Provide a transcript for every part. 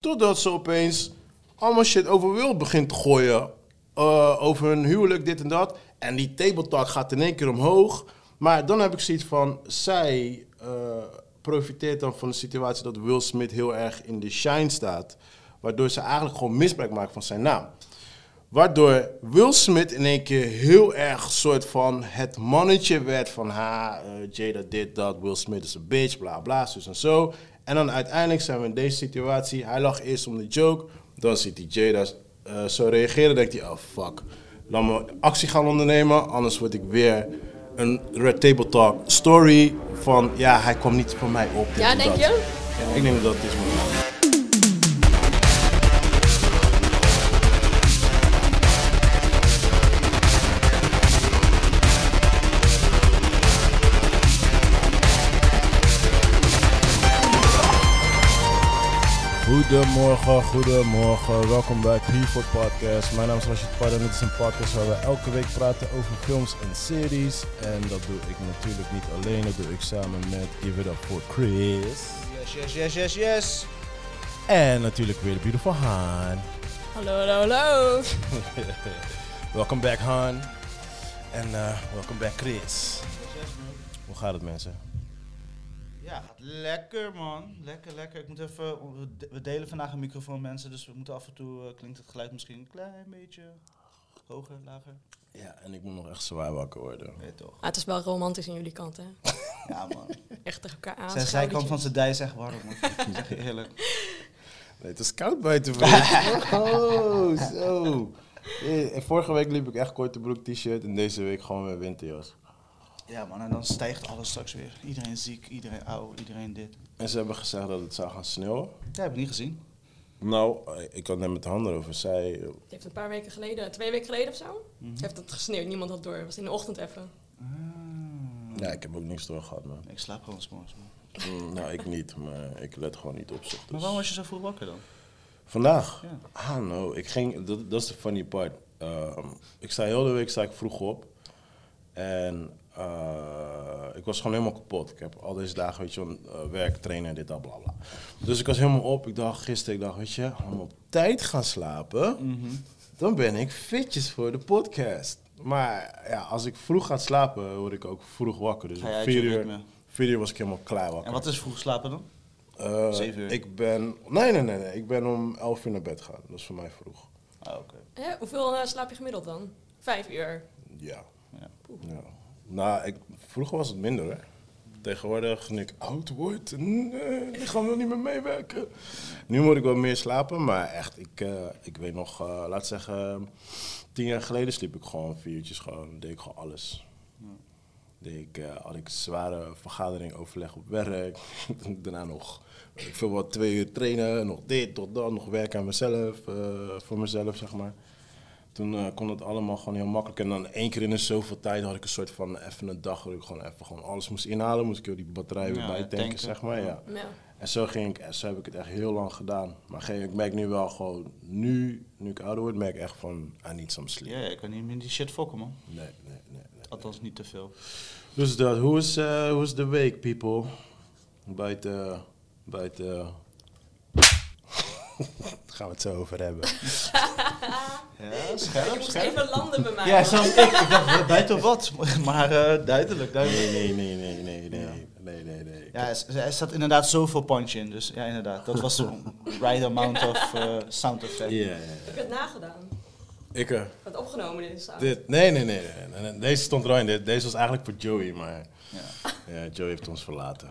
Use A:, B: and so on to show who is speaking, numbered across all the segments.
A: Totdat ze opeens allemaal shit over Wil begint te gooien. Eh, over hun huwelijk, dit en dat. En die table talk gaat in één keer omhoog. Maar dan heb ik zoiets van, zij eh, profiteert dan van de situatie dat Will Smith heel erg in de shine staat. Waardoor ze eigenlijk gewoon misbruik maakt van zijn naam. Waardoor Will Smith in één keer heel erg soort van het mannetje werd van ha, eh, Jada dit, dat, Will Smith is een bitch, bla bla, zus en zo. En dan uiteindelijk zijn we in deze situatie. Hij lag eerst om de joke, dan ziet hij Jada eh, zo reageren, denkt hij, oh fuck. Laat me actie gaan ondernemen, anders word ik weer een Red Table Talk story van ja, hij kwam niet voor mij op. dit
B: Ja,
A: en
B: denk
A: dat.
B: je?
A: Ja, ik denk dat dat het is man.
C: Goedemorgen, goedemorgen. Welkom bij P4 Podcast. Mijn naam is Rashid Pard en dit is een podcast waar we elke week praten over films en series. En dat doe ik natuurlijk niet alleen, dat doe ik samen met Give It Up for Chris.
D: Yes, yes, yes, yes, yes.
C: En natuurlijk weer de beautiful Han.
B: Hallo, hallo, hallo. Ah,
C: Welkom back Han. En eh, welkom back Chris. Hoe gaat het mensen?
D: Ja, gaat lekker man. Lekker, lekker. Ik moet even, we de- we delen vandaag een microfoon mensen, dus we moeten af en toe, eh, klinkt het geluid misschien een klein beetje hoger, lager.
C: Ja, en ik moet nog echt zwaar wakker worden.
D: Nee toch.
B: Ah, het is wel romantisch aan jullie kant, hè?
D: Ja man.
B: Echt tegen elkaar aan.
D: Zijn zijkant van zijn dij is echt warm. man. Ik zeg je eerlijk.
A: Nee, het is koud buiten vandaag. Oh, zo. Eh, en Vorige week liep ik echt korte broek t-shirt en deze week gewoon weer winterjas.
D: Ja man, en dan stijgt alles straks weer. Iedereen ziek, iedereen oud, iedereen dit.
A: En ze hebben gezegd dat het zou gaan sneeuwen.
D: Dat heb ik niet gezien.
A: Nou, eh, ik had net met de handen over. Zij, eh,
B: Het heeft een paar weken geleden, twee weken geleden of zo,
D: Mhm.
B: heeft het gesneeuwd. Niemand had door. Het was in de ochtend even.
A: ja, ik heb ook niks door gehad, man.
D: Ah, Ik slaap gewoon s'morgens man.
A: Mm, nou, ik niet, maar ik let gewoon niet op. 's ochtends.
D: Maar waarom was je zo vroeg wakker dan?
A: Vandaag?
D: Ja.
A: Ah, no. Ik ging, dat, dat is de funny part. Ehm, ik sta heel de week sta ik vroeg op. En eh, ik was gewoon helemaal kapot. Ik heb al deze dagen, weet je, wel, eh, werk, trainen, dit, dat, bla, bla. Dus ik was helemaal op. Ik dacht gisteren, ik dacht, weet je, als we op tijd gaan slapen,
D: Mhm.
A: dan ben ik fitjes voor de podcast. Maar ja, als ik vroeg ga slapen, word ik ook vroeg wakker. Dus
D: Ga
A: om
D: je uit
A: vier
D: je
A: uur,
D: ritme?
A: vier uur was ik helemaal klaar wakker.
D: En wat is vroeg slapen dan?
A: Eh,
D: Zeven uur?
A: Ik ben. Nee, nee, nee, nee. Ik ben om 11 uur naar bed gaan. Dat is voor mij vroeg.
D: Ah oké.
B: Hè? Hoeveel eh, slaap je gemiddeld dan? Vijf uur.
A: Ja.
D: Ja.
A: ja. Nou, ik, vroeger was het minder, hè? Tegenwoordig, nu ik oud word, eh, nee, ik ga wel niet meer meewerken. Nu moet ik wel meer slapen, maar echt, ik, eh, ik weet nog, eh, laat zeggen, tien jaar geleden sliep ik gewoon vier uurtjes, gewoon, deed ik gewoon alles. Deed ik, eh, had ik zware vergadering, overleg op werk, daarna nog, weet ik veel wat, twee uur trainen, nog dit, tot dan, nog werk aan mezelf, eh, voor mezelf, zeg maar. Toen eh, kon dat allemaal gewoon heel makkelijk. En dan één keer in de zoveel tijd had ik een soort van even een dag waar ik gewoon even gewoon alles moest inhalen. Moest ik heel die batterij weer
D: Ja,
A: bijtanken,
D: tanken.
A: zeg maar. Ja.
B: Ja.
A: En zo ging ik, en zo heb ik het echt heel lang gedaan. Maar geen- ik merk nu wel gewoon, nu, nu ik ouder word, merk ik echt van, I need some sleep.
D: Ja, ja, ik kan niet meer die shit fokken man.
A: Nee, nee, nee, nee.
D: Althans niet te veel.
A: Dus dat, hoe is, eh, hoe is de week, people? Buiten, buiten... Daar gaan we het zo over hebben.
D: Ja,
B: Ik
D: scherp,
B: moest
D: scherp.
B: even landen bij mij.
D: Ja,
B: hoor.
D: zelfs ik. Ik dacht, buiten wat? Maar eh, duidelijk, duidelijk.
A: Nee, nee, nee, nee, nee, nee, nee, nee, nee.
D: Ja, er, s- er staat inderdaad zoveel punch in. Dus ja, inderdaad. Dat was een right amount of eh, sound effect.
A: Ja, ja, ja.
B: Ik heb het nagedaan.
A: Ik, eh,
B: Wat opgenomen is. staan.
A: dit, nee, nee, nee, nee, nee, nee. Deze stond er al in. De- Deze was eigenlijk voor Joey, maar
D: Ja.
A: ja, Joey heeft ons verlaten.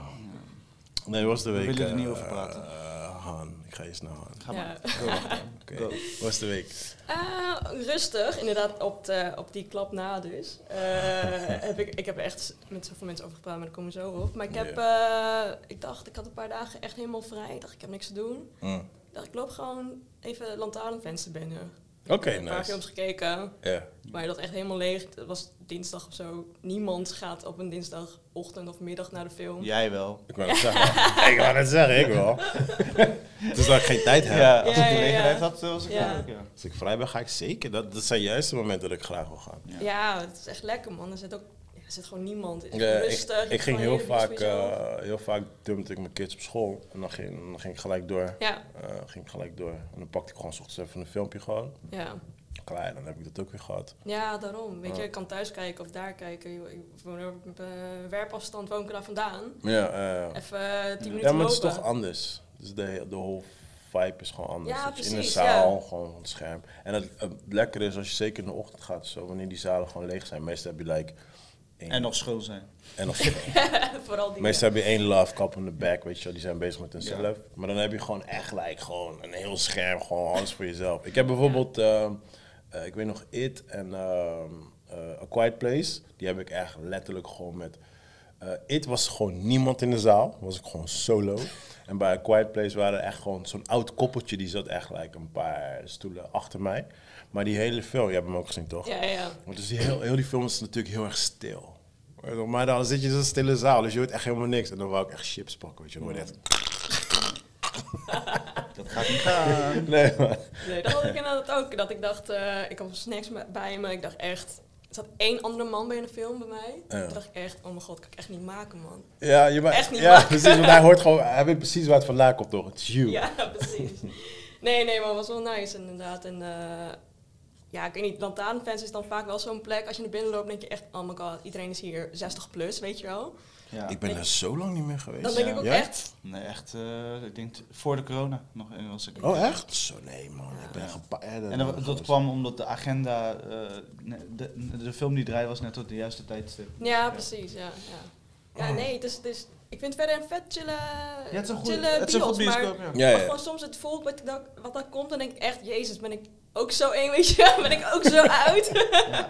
A: Nee, hoe was de week?
D: willen er
A: eh,
D: niet over praten.
A: eh, Han, ik ga eerst naar Han.
D: Ga maar.
B: Ja.
A: Oké, hoe was de week?
B: Eh, rustig, inderdaad, op, de, op die klap na dus. Eh, heb ik, ik heb er echt met zoveel mensen over gepraat, maar daar komen we zo op. Maar ik heb, eh, ik dacht, ik had een paar dagen echt helemaal vrij. Ik dacht, ik heb niks te doen.
A: Mm.
B: Ik dacht, ik loop gewoon even lantaarnvenster binnen.
A: Oké,
B: een paar
A: nice.
B: films gekeken,
A: Ja.
B: maar dat echt helemaal leeg. Dat was dinsdag of zo. Niemand gaat op een dinsdagochtend of middag naar de film.
D: Jij wel.
A: Ik wou het zeggen. ik wou het zeggen, ik wel. Het is dat ik geen tijd
D: Ja,
A: heb.
D: als
B: Ja,
D: ik
B: ja,
D: gelegenheid
B: ja.
D: had, eh, was ik
B: Ja.
D: daar ook, ja.
A: Als ik vrij ben, ga ik zeker. Dat, dat zijn juist de momenten dat ik graag wil gaan.
B: Ja, het is echt lekker, man. Er zit ook ja, Er zit gewoon niemand. Het is
A: Ja, Eh, ik-
B: rustig. je
A: ik,
B: hebt
A: ging
B: gewoon
A: heel
B: helemaal
A: vaak,
B: niks voor jezelf.
A: eh, heel vaak dumpte ik mijn kids op school. En dan ging, dan ging ik gelijk door.
B: ja,
A: Eh, ging ik gelijk door. En dan pakte ik gewoon 's ochtends even een filmpje gewoon.
B: ja.
A: Klaar, dan heb ik dat ook weer gehad.
B: ja, daarom. Weet je,
A: Ja.
B: ik kan thuis kijken of daar kijken. Joh, Ik woon op eh, werpafstand, woon ik er daar vandaan.
A: Ja, eh,
B: Even eh, tien minuten
A: ja maar het is
B: lopen.
A: toch anders. Dus de, de whole vibe is gewoon anders.
B: Ja,
A: Het is in
B: precies,
A: de zaal,
B: ja.
A: gewoon van het scherm. En het, het lekker is als je zeker in de ochtend gaat, zo, wanneer die zalen gewoon leeg zijn. Meestal heb je like... één-
D: En nog schoon zijn.
A: En nog
B: Vooral die.
A: Meestal heb je één love cup in de back, weet je wel. Die zijn bezig met hunzelf.
D: Ja.
A: Maar dan heb je gewoon echt gelijk gewoon een heel scherm, gewoon alles voor jezelf. Ik heb bijvoorbeeld, ehm, eh, ik weet nog, It en ehm, eh, A Quiet Place. Die heb ik echt letterlijk gewoon met... eh, It was gewoon niemand in de zaal. Was ik gewoon solo. En bij A Quiet Place waren er echt gewoon zo'n oud koppeltje. Die zat echt gelijk een paar stoelen achter mij. Maar die hele film, je hebt hem ook gezien toch?
B: Ja, ja, ja.
A: Want dus die heel, heel die film is natuurlijk heel erg stil. Weet je wel, Maar dan zit je in zo'n stille zaal, dus je hoort echt helemaal niks. En dan wou ik echt chips pakken, weet je. wel. Dan hoor je echt-
D: Dat gaat niet gaan.
A: Nee, man.
B: Nee, dat had ik inderdaad ook. Dat ik dacht, eh, ik had snacks me- bij me. Ik dacht echt, er zat één andere man bij in de film bij mij.
A: Ja.
B: Toen dacht ik echt, oh mijn god, kan ik echt niet maken, man.
A: Ja, je ma-
B: Echt niet
A: ja
B: maken.
A: precies, want hij hoort gewoon, hij weet precies waar het vandaan komt, toch? Het is you.
B: Ja, precies. Nee, nee, maar het was wel nice inderdaad. En eh, ja, ik weet niet, lantaarnfans is dan vaak wel zo'n plek. Als je naar binnen loopt, denk je echt, oh my god, iedereen is hier 60 plus, weet je wel.
D: Ja.
A: Ik ben er zo lang niet meer geweest.
B: Dan denk ik ook
A: Ja?
B: echt,
D: Nee, echt, eh, ik denk t- voor de corona nog eh, was ik.
A: Oh, echt? Zo, nee, man. Ik ben gepa- ja,
D: En dat, dat
A: geweest.
D: kwam omdat de agenda, eh, ne- de, de film die draaide was net tot de juiste tijdstip.
B: ja, precies, ja. ja. Ja, nee, het is, het is, ik vind het verder een vet chillen,
D: Oh. Ja, het is een goed,
B: chillen
D: het is een goed
B: bios, maar-
D: bioscoop, ja.
A: Ja,
B: Maar
A: ja.
B: gewoon soms het volk wat, ik dan- wat dan komt, dan denk ik echt, jezus, ben ik ook zo eng, weet je? Ben ik ook zo oud?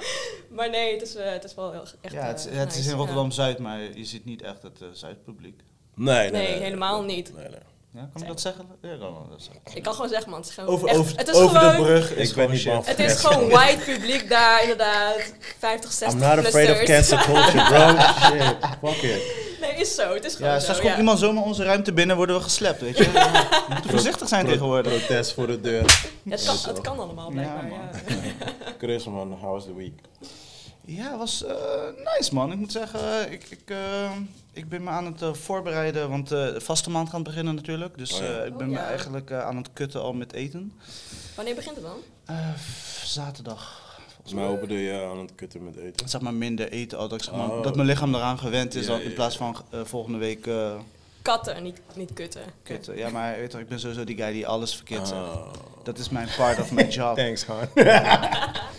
B: maar nee, het is, eh, het is wel heel- echt
D: ja, het,
B: eh,
D: is- het is
B: nice,
D: in
B: ja.
D: Rotterdam-Zuid, maar je ziet niet echt het eh, Zuidpubliek.
A: Nee, nee,
B: Nee,
A: nee, nee.
B: helemaal niet.
A: Nee, nee.
D: Ja, kan ik dat zeggen? Ja, kan ik dat zeggen.
B: Ik kan gewoon zeggen, man, het is gewoon
D: Over,
B: echt-
D: over,
B: het is
D: over
B: gewoon,
D: de brug
A: Ik
D: is
A: ben
D: gewoon
A: niet bang
D: shit.
A: voor-
B: Het is gewoon white publiek daar, inderdaad. 50, 60
A: I'm not afraid of
B: plussers.
A: cancel culture, bro. Shit, fuck it.
B: Nee, is zo. Het is gewoon
D: Ja,
B: zo,
D: straks
B: ja.
D: komt iemand zomaar onze ruimte binnen, worden we geslept, weet je. We moeten voorzichtig zijn
A: Pro-
D: tegenwoordig.
A: Protest voor de deur.
B: Ja, het, kan, het kan allemaal,
D: Ja,
B: blijkbaar.
D: man.
B: Ja,
A: Chris, man, how was the week?
D: Ja, was eh, nice man. Ik moet zeggen, ik, ik, eh, ik ben me aan het eh, voorbereiden, want eh, de vaste maand gaat beginnen natuurlijk. Dus
A: Oh ja.
D: eh, ik ben
B: Oh
D: me
B: ja.
D: eigenlijk eh, aan het kutten al met eten.
B: Wanneer begint het dan?
D: Eh, f- zaterdag.
A: Volgens mij hoe bedoel je aan het kutten met eten.
D: Zeg maar minder eten, al dat, ik zeg maar,
A: Oh.
D: dat mijn lichaam eraan gewend is
A: Ja,
D: dan
A: ja,
D: in
A: ja.
D: plaats van eh, volgende week eh,
B: Katten, niet, niet kutten.
D: kutten. eh, Ja, maar weet je, ik ben sowieso die guy die alles verkeerd zegt.
A: Ah.
D: Dat is mijn part of my job.
A: Thanks, man.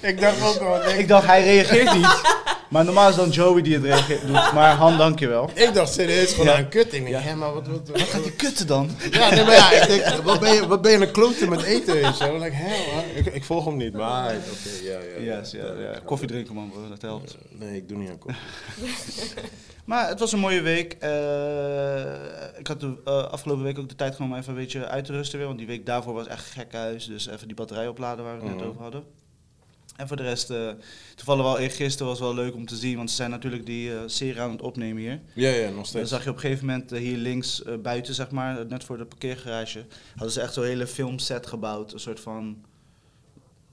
A: ik dacht ook wel.
D: Ik dacht, hij reageert niet. Maar normaal is dan Joey die het reageert, doet. Maar Han, dankjewel.
A: Ik dacht serieus gewoon aan kut. Ik denk, ja. maar wat... wat,
D: Wat gaat die kutten dan?
A: ja, nee, maar ja, ik denk, wat ben je, wat ben je een klote met eten? En zo. Like, hè, man? ik, ik volg hem niet, maar... hij- Oké, ja, ja.
D: Yes, ja, ja. Koffie drinken man, broer, dat helpt.
A: Nee, ik doe niet aan koffie.
D: Maar het was een mooie week. Eh, ik had de eh, afgelopen week ook de tijd genomen om even een beetje uit te rusten weer. Want die week daarvoor was echt gek huis. Dus even die batterij opladen waar we het
A: Mhm.
D: net over hadden. En voor de rest, eh, toevallig wel eergisteren was wel leuk om te zien. Want ze zijn natuurlijk die eh, serie aan het opnemen hier.
A: Ja, ja, nog
D: Dan
A: steeds.
D: zag je op een gegeven moment eh, hier links eh, buiten, zeg maar, net voor de parkeergarage, hadden ze echt zo'n hele filmset gebouwd. Een soort van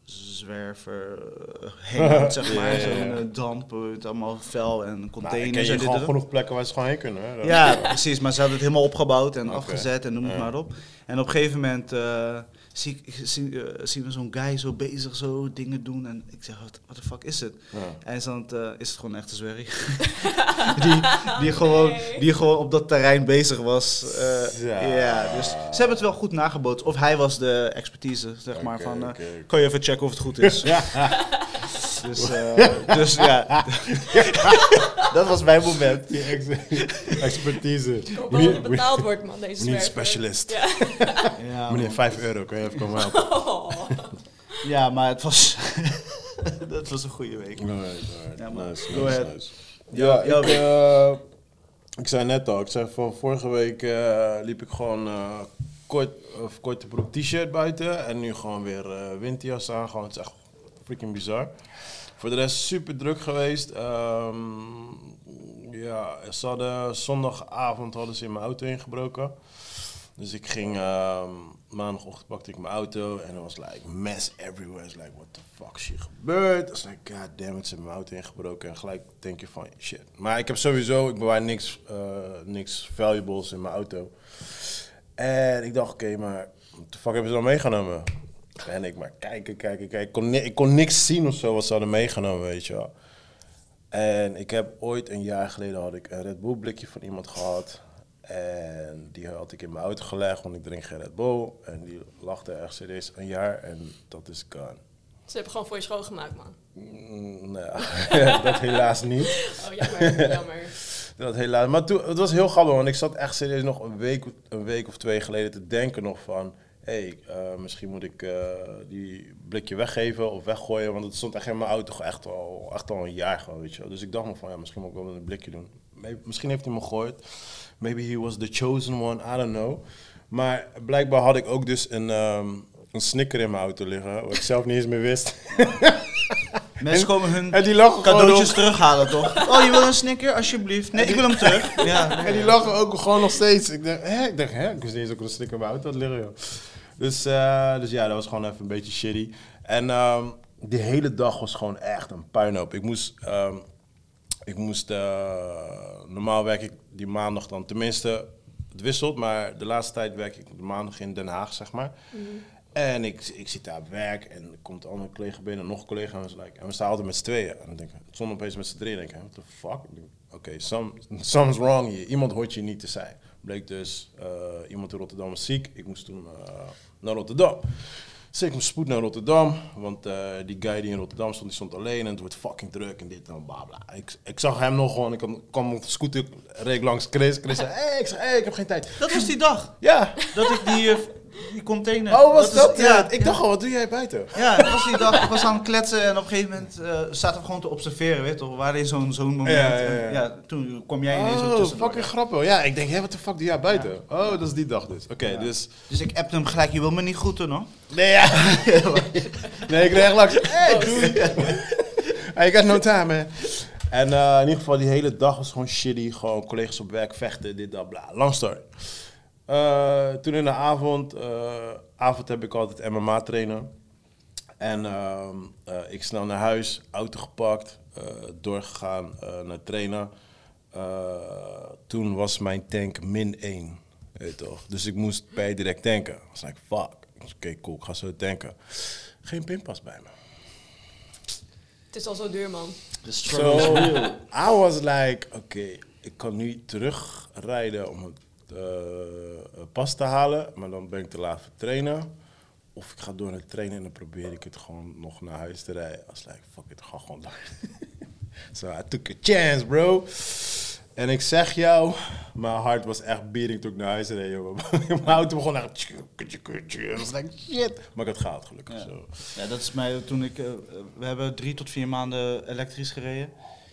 D: zwerver, eh, hangout, zeg
A: Ja,
D: maar.
A: ja, ja.
D: Zo'n eh, damp, eh, met allemaal vel en
A: Nou, ik
D: containers.
A: ken
D: en
A: je
D: dit
A: gewoon
D: en dat.
A: genoeg plekken waar ze gewoon heen kunnen. Hè? Dat-
D: Ja, precies. Maar ze hadden het helemaal opgebouwd en
A: Oké.
D: afgezet en noem het
A: Ja.
D: maar op. En op een gegeven moment eh, zie, ik- zie, eh, zien we zo'n guy zo bezig, zo dingen doen. En ik zeg, wat de fuck is het?
A: Ja.
D: En dan eh, is het gewoon echt een zwerrie. die, die, gewoon, die gewoon op dat terrein bezig was. eh,
A: Zo.
D: ja, dus ze hebben het wel goed nagebootst. Of hij was de expertise, zeg maar.
A: Oké,
D: Van, eh,
A: oké, oké.
D: Kan je even checken of het goed is? Dus, eh, dus ja, dat was mijn moment.
A: Die ex- expertise.
B: Ik hoop wel dat
A: Meneer,
B: het betaald wordt, man, deze
A: meneer
B: zwerver.
A: specialist.
B: Ja.
D: Ja,
A: meneer, 5 euro, kun je even komen helpen?
B: Oh.
D: ja maar het was, dat was een goede week.
A: Alright, alright.
D: Ja, man.
A: nice,
D: Go
A: nice,
D: ahead.
A: nice. Ja,
D: jouw
A: ik,
D: week.
A: eh, ik zei net al, ik zei van vorige week eh, liep ik gewoon eh, kort, of korte broek t-shirt buiten en nu gewoon weer eh, windjas aan. Gewoon, het is echt freaking bizar. Voor de rest super druk geweest. Ehm, ja, ze hadden zondagavond hadden ze in mijn auto ingebroken. Dus ik ging, ehm, maandagochtend pakte ik mijn auto en er was like mess everywhere. It's like, what the fuck is hier gebeurd? It's like, god damn it, ze hebben mijn auto ingebroken. En gelijk denk je van, shit. Maar ik heb sowieso, ik bewaar niks, eh, niks valuables in mijn auto. En ik dacht, oké, maar what the fuck hebben ze dan meegenomen? En ik maar kijken, kijken, kijken. Ik kon, ni- ik kon niks zien of zo wat ze hadden meegenomen, weet je wel. En ik heb ooit een jaar geleden had ik een Red Bull blikje van iemand gehad. En die had ik in mijn auto gelegd, want ik drink geen Red Bull. En die lag er echt serieus een jaar en dat is gone.
B: Ze hebben gewoon voor je schoongemaakt, man.
A: Mm, nou, dat helaas niet.
B: Oh, jammer, jammer.
A: Dat helaas. Maar toen, het was heel grappig, want ik zat echt serieus nog een week, een week of twee geleden te denken nog van... Hé, hey, eh, misschien moet ik eh, die blikje weggeven of weggooien. Want het stond echt in mijn auto echt al, echt al een jaar gewoon, weet je wel. Dus ik dacht nog van, ja, misschien moet ik wel met een blikje doen. May- Misschien heeft hij me gehoord. Maybe he was the chosen one, I don't know. Maar blijkbaar had ik ook dus een, ehm, een snicker in mijn auto liggen, wat ik zelf niet eens meer wist.
D: Mensen komen hun
A: En die lachen gewoon
D: cadeautjes
A: nog-
D: terughalen, toch? Oh, je wil een snicker? Alsjeblieft. Nee, ik wil hem terug. Ja.
A: En die lachen ook gewoon nog steeds. Ik dacht, hè? Ik, dacht, hè? ik wist niet eens ook een stuk in mijn auto had liggen, joh. Dus, eh, dus ja, dat was gewoon even een beetje shitty. En ehm, die hele dag was gewoon echt een puinhoop. Ik moest... ehm, ik moest eh, normaal werk ik die maandag dan, tenminste, het wisselt, maar de laatste tijd werk ik de maandag in Den Haag, zeg maar. En ik, ik zit daar op werk en er komt een andere collega binnen, nog een collega. En, we zijn like, en we staan altijd met z'n tweeën. En dan denk ik, soms opeens met z'n drieën. denk ik, hè, what the fuck? Ik denk, Oké, some, something's wrong hier. Iemand hoort je niet te zijn. Bleek dus, eh, iemand in Rotterdam was ziek. Ik moest toen eh, naar Rotterdam. Dus ik moest spoed naar Rotterdam, want eh, die guy die in Rotterdam stond, die stond alleen en het wordt fucking druk en dit en bla bla. Ik, ik zag hem nog gewoon, ik kwam- kwam op de scooter, reed langs Chris. Chris zei, hey, ik, zeg, hey, ik heb geen tijd.
D: Dat was die dag.
A: Ja,
D: Dat ik die, eh, die container...
A: oh was
D: is-
A: dat? ja, ik
D: ja.
A: dacht al, wat doe jij buiten?
D: Ja, dat was die dag. Ik was aan het kletsen en op een gegeven moment eh zaten we gewoon te observeren, weet je toch? We waren in zo'n zo'n moment.
A: Ja, ja,
D: Ja,
A: ja.
D: toen kwam jij ineens zo
A: Oh,
D: tussen.
A: fucking grappig. Ja, ik denk, hé, wat de fuck doe jij buiten? Oh, dat is die dag dus. Oké,
D: Ja.
A: dus...
D: Dus ik appte hem gelijk, je wil me niet groeten, hoor.
A: Nee, ja. nee, ik kreeg langs. Hey, dude. I got no time, man. En eh, in ieder geval, die hele dag was gewoon shitty. Gewoon collega's op werk vechten, dit, dat, bla. Long story. Eh, toen in de avond, eh, avond heb ik altijd MMA trainen. En ehm, eh, ik snel naar huis, auto gepakt, eh, doorgegaan eh, naar trainen. Eh, toen was mijn tank min 1. Weet je toch? Dus ik moest bij direct tanken. Ik was like, fuck. Ik was, Oké, cool, ik ga zo tanken. Geen pinpas bij me.
B: Het is al zo duur, man.
D: De
A: So, I was like, oké, ik kan nu terugrijden om het eh, pas te halen, maar dan ben ik te laat voor trainen. Of ik ga door naar het trainen en dan probeer ik het gewoon nog naar huis te rijden. I was like, fuck it, ik ga gewoon door. so I took a chance, bro. En ik zeg jou, mijn hart was echt beating toen ik naar huis reed, joh. mijn auto begon echt... I was like, shit. Maar ik had gehaald, gelukkig.
D: Ja.
A: zo.
D: Ja, dat is mij toen ik. eh, we hebben drie tot vier maanden elektrisch gereden.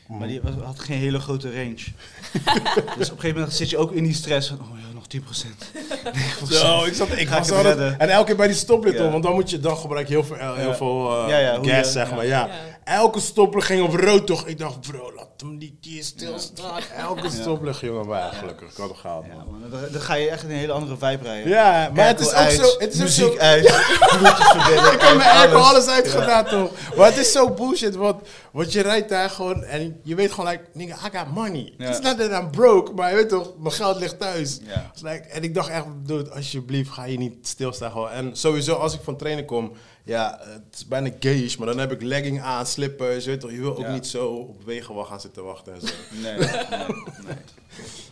D: Maar die was- had geen hele grote range. dus op een gegeven moment zit je ook in die stress van, oh ja, nog 10%.
A: Zo, ik zat, ik
D: Ga ik
A: was
D: het
A: altijd-
D: redden?
A: en elke keer bij die stoplift
D: Ja.
A: hoor, want dan moet je, dan gebruik je heel veel, heel
D: Ja.
A: veel eh,
D: Ja, ja, hoe
A: gas,
D: je-
A: zeg
D: ja.
A: maar, ja.
B: Ja.
A: Elke stoplicht ging op rood, toch? Ik dacht, bro, laat hem niet hier stilstaan. Elke stoplicht, jongen, maar ja, gelukkig, ik had hem gehaald,
D: Ja,
A: man.
D: man, dan, dan ga je echt een hele andere vibe rijden.
A: Ja, maar het
D: Airco
A: is ook
D: uit,
A: zo, het is ook
D: muziek
A: zo,
D: uit, bloedjes verbinden.
A: ik heb mijn airco alles uitgedaan, toch? Maar het is zo bullshit, want, want je rijdt daar gewoon en je weet gewoon, like, nigga, I got money.
D: Ja.
A: Het is not that I'm broke, maar je weet toch, mijn geld ligt thuis.
D: Ja.
A: Dus like, en ik dacht echt, dude, alsjeblieft, ga je niet stilstaan gewoon. En sowieso, als ik van trainen kom, ja, het is bijna gayish, maar dan heb ik legging aan, slippers, je weet toch. Je wil ook
D: Ja.
A: niet zo op wegen wel gaan zitten wachten en zo.
D: Nee, nee, nee.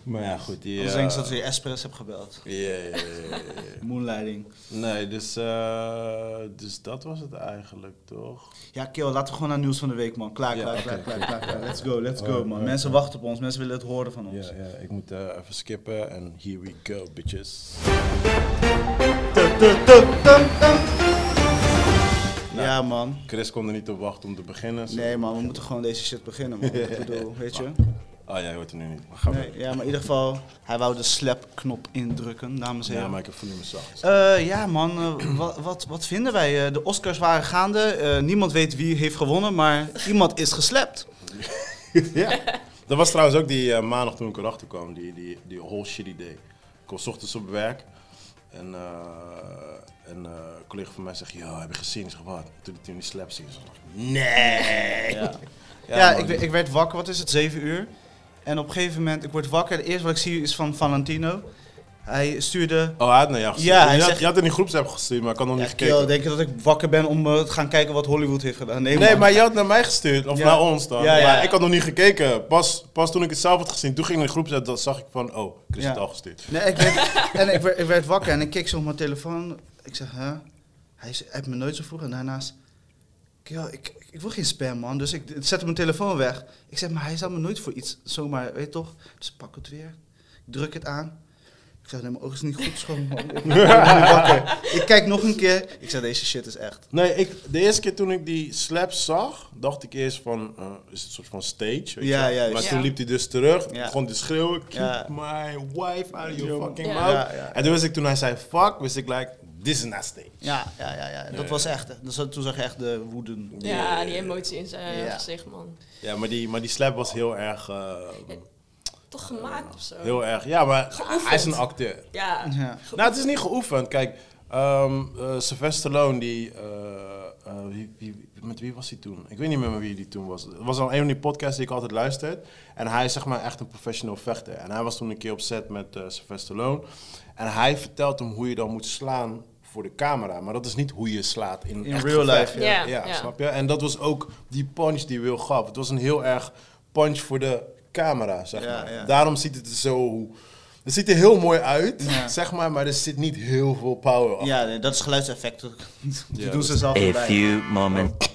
A: maar ja, goed. Die,
D: Anders
A: eh,
D: denk ik dat je Espress hebt gebeld.
A: ja, ja, ja, ja, ja, ja.
D: Moonlighting.
A: Nee, dus, eh, dus dat was het eigenlijk, toch?
D: Ja, kill, laten we gewoon naar nieuws van de week, man. Klaar,
A: Ja,
D: klaar,
A: oké,
D: klaar, klaar,
A: oké.
D: klaar, klaar. Let's go, let's go,
A: Oh,
D: man.
A: oh,
D: Mensen wachten op ons, mensen willen het horen van ons.
A: Ja, ja, ik moet eh, even skippen en here we go, bitches.
D: Ja, man.
A: Chris kon er niet op wachten om te beginnen. zo.
D: Nee, man, we moeten gewoon deze shit beginnen, man. Ik bedoel, weet je?
A: Oh, jij hoort er nu niet. Maar ga
D: Nee,
A: maar.
D: ja, maar in ieder geval, hij wou de slapknop indrukken, dames en
A: Ja,
D: heren.
A: maar ik heb volume zacht.
D: Eh, ja, man, eh, wat, wat, wat vinden wij? Eh, de Oscars waren gaande, eh, niemand weet wie heeft gewonnen, maar iemand is geslapt.
A: ja. Dat was trouwens ook die eh, maandag toen ik erachter kwam, die, die, die whole shitty day. Ik was 's ochtends op werk En eh, een eh, collega van mij zegt, ja, heb je gezien? Ik zeg, wat? Toen die toen die slap zien. Ik zeg, nee!
D: Ja,
A: Ja,
D: ja,
A: man.
D: ik, we- ik werd wakker, wat is het, 7 uur. En op een gegeven moment, ik word wakker. Het eerste wat ik zie is van Valentino. Hij stuurde.
A: Oh, hij had naar jou gestuurd.
D: Ja,
A: je,
D: hij
A: had,
D: zegt-
A: je had in die groepsapp gestuurd, maar ik had nog
D: Ja,
A: niet Oh, gekeken.
D: yo, denk je dat ik wakker ben om eh, te gaan kijken wat Hollywood heeft gedaan? Nee,
A: Nee,
D: man.
A: maar je had naar mij gestuurd, of
D: Ja.
A: naar ons dan.
D: Ja, ja.
A: Maar ik had nog niet gekeken. Pas, pas toen ik het zelf had gezien, toen ging ik in de groepsapp, dat zag ik van, oh, Chris heeft
D: Ja.
A: het al gestuurd.
D: Nee, ik werd, en ik werd, ik werd wakker en ik keek zo op mijn telefoon. Ik zeg, hè? Hij is- hij heeft me nooit zo vroeg. En daarnaast, ik, ja, ik, ik wil geen spam, man. Dus ik, ik zette mijn telefoon weg. Ik zeg, maar hij zou me nooit voor iets zomaar, weet je toch? Dus ik pak het weer. Ik druk het aan. Ik zeg, nee, mijn oog is niet goed schoon, man. Ik, ben nu wakker. ik kijk nog een keer. Ik zeg, deze shit is echt.
A: Nee, ik, de eerste keer toen ik die slap zag, dacht ik eerst van, eh, is het een soort van stage? Weet je
D: Ja,
A: wel?
D: juist.
A: Maar
B: Ja.
A: toen liep hij dus terug,
D: Ja.
A: begon te schreeuwen, keep
D: Ja.
A: my wife out of your
D: Ja.
A: fucking
B: Ja.
A: mouth.
D: Ja, ja.
A: En toen wist ik, toen hij zei fuck, wist ik like, this is not stage.
D: Ja, ja, ja, ja. Dat was echt. Dus dat- toen zag je echt de woeden.
B: Ja, die emotie in zijn
D: Ja.
B: gezicht, man.
A: Ja, maar die, maar die slap was heel erg, eh,
B: Toch gemaakt of zo?
A: heel erg, ja, maar
B: Geoefend.
A: hij is een acteur.
B: Ja.
D: Ja.
A: Nou, het is niet geoefend. Kijk, ehm eh, Sylvester Stallone, die, eh, eh, wie, wie- met wie was hij toen? Ik weet niet meer met wie die toen was. Het was al een van die podcasts die ik altijd luister. En hij is zeg maar echt een professioneel vechter. En hij was toen een keer op set met eh Sylvester Stallone. En hij vertelt hem hoe je dan moet slaan voor de camera. Maar dat is niet hoe je slaat in,
D: In
A: echt
D: real
A: gevecht.
D: life,
B: ja.
A: Ja,
B: Ja, ja.
A: snap je? En dat was ook die punch die Will gaf. Het was een heel erg punch voor de camera, zeg
D: Ja,
A: maar.
D: ja.
A: Daarom ziet het er zo... Het ziet er heel mooi uit,
D: Ja.
A: zeg maar, maar er zit niet heel veel power achter.
D: Ja, nee, dat is geluidseffect. Die
A: Ja,
D: doen ze zelf
E: A
D: erbij.
E: few moments.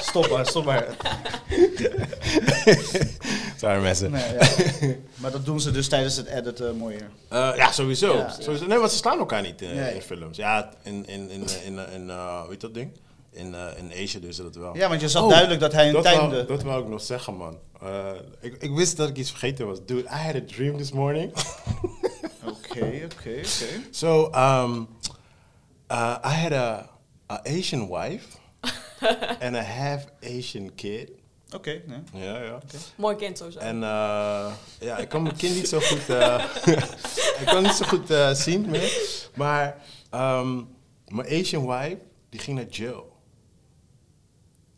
D: Stop maar, stop maar.
A: Sorry mensen.
D: Nee, ja. maar dat doen ze dus tijdens het editen mooier.
A: Eh, ja, sowieso.
D: Ja.
A: sowieso. Nee, want ze slaan elkaar niet eh,
D: Nee.
A: in films. Ja, in, in, in, in, in, eh, hoe heet dat ding? In, eh, in Asia doen ze dat wel.
D: Ja, want je zag
A: Oh,
D: duidelijk dat hij een
A: dat
D: tijdende...
A: wou, dat wou ik nog zeggen, man. Eh, ik, ik wist dat ik iets vergeten was. Dude, I had a dream this morning.
D: Oké, oké, oké.
A: So um, uh, I had a, a Asian wife and a half Asian kid.
D: Oké, nee.
A: Ja, ja.
B: Mooi kind sowieso.
A: En eh, ja, ik kan mijn kind niet zo goed, eh, ik kan niet zo goed eh, zien meer. Maar ehm, mijn Asian wife die ging naar jail.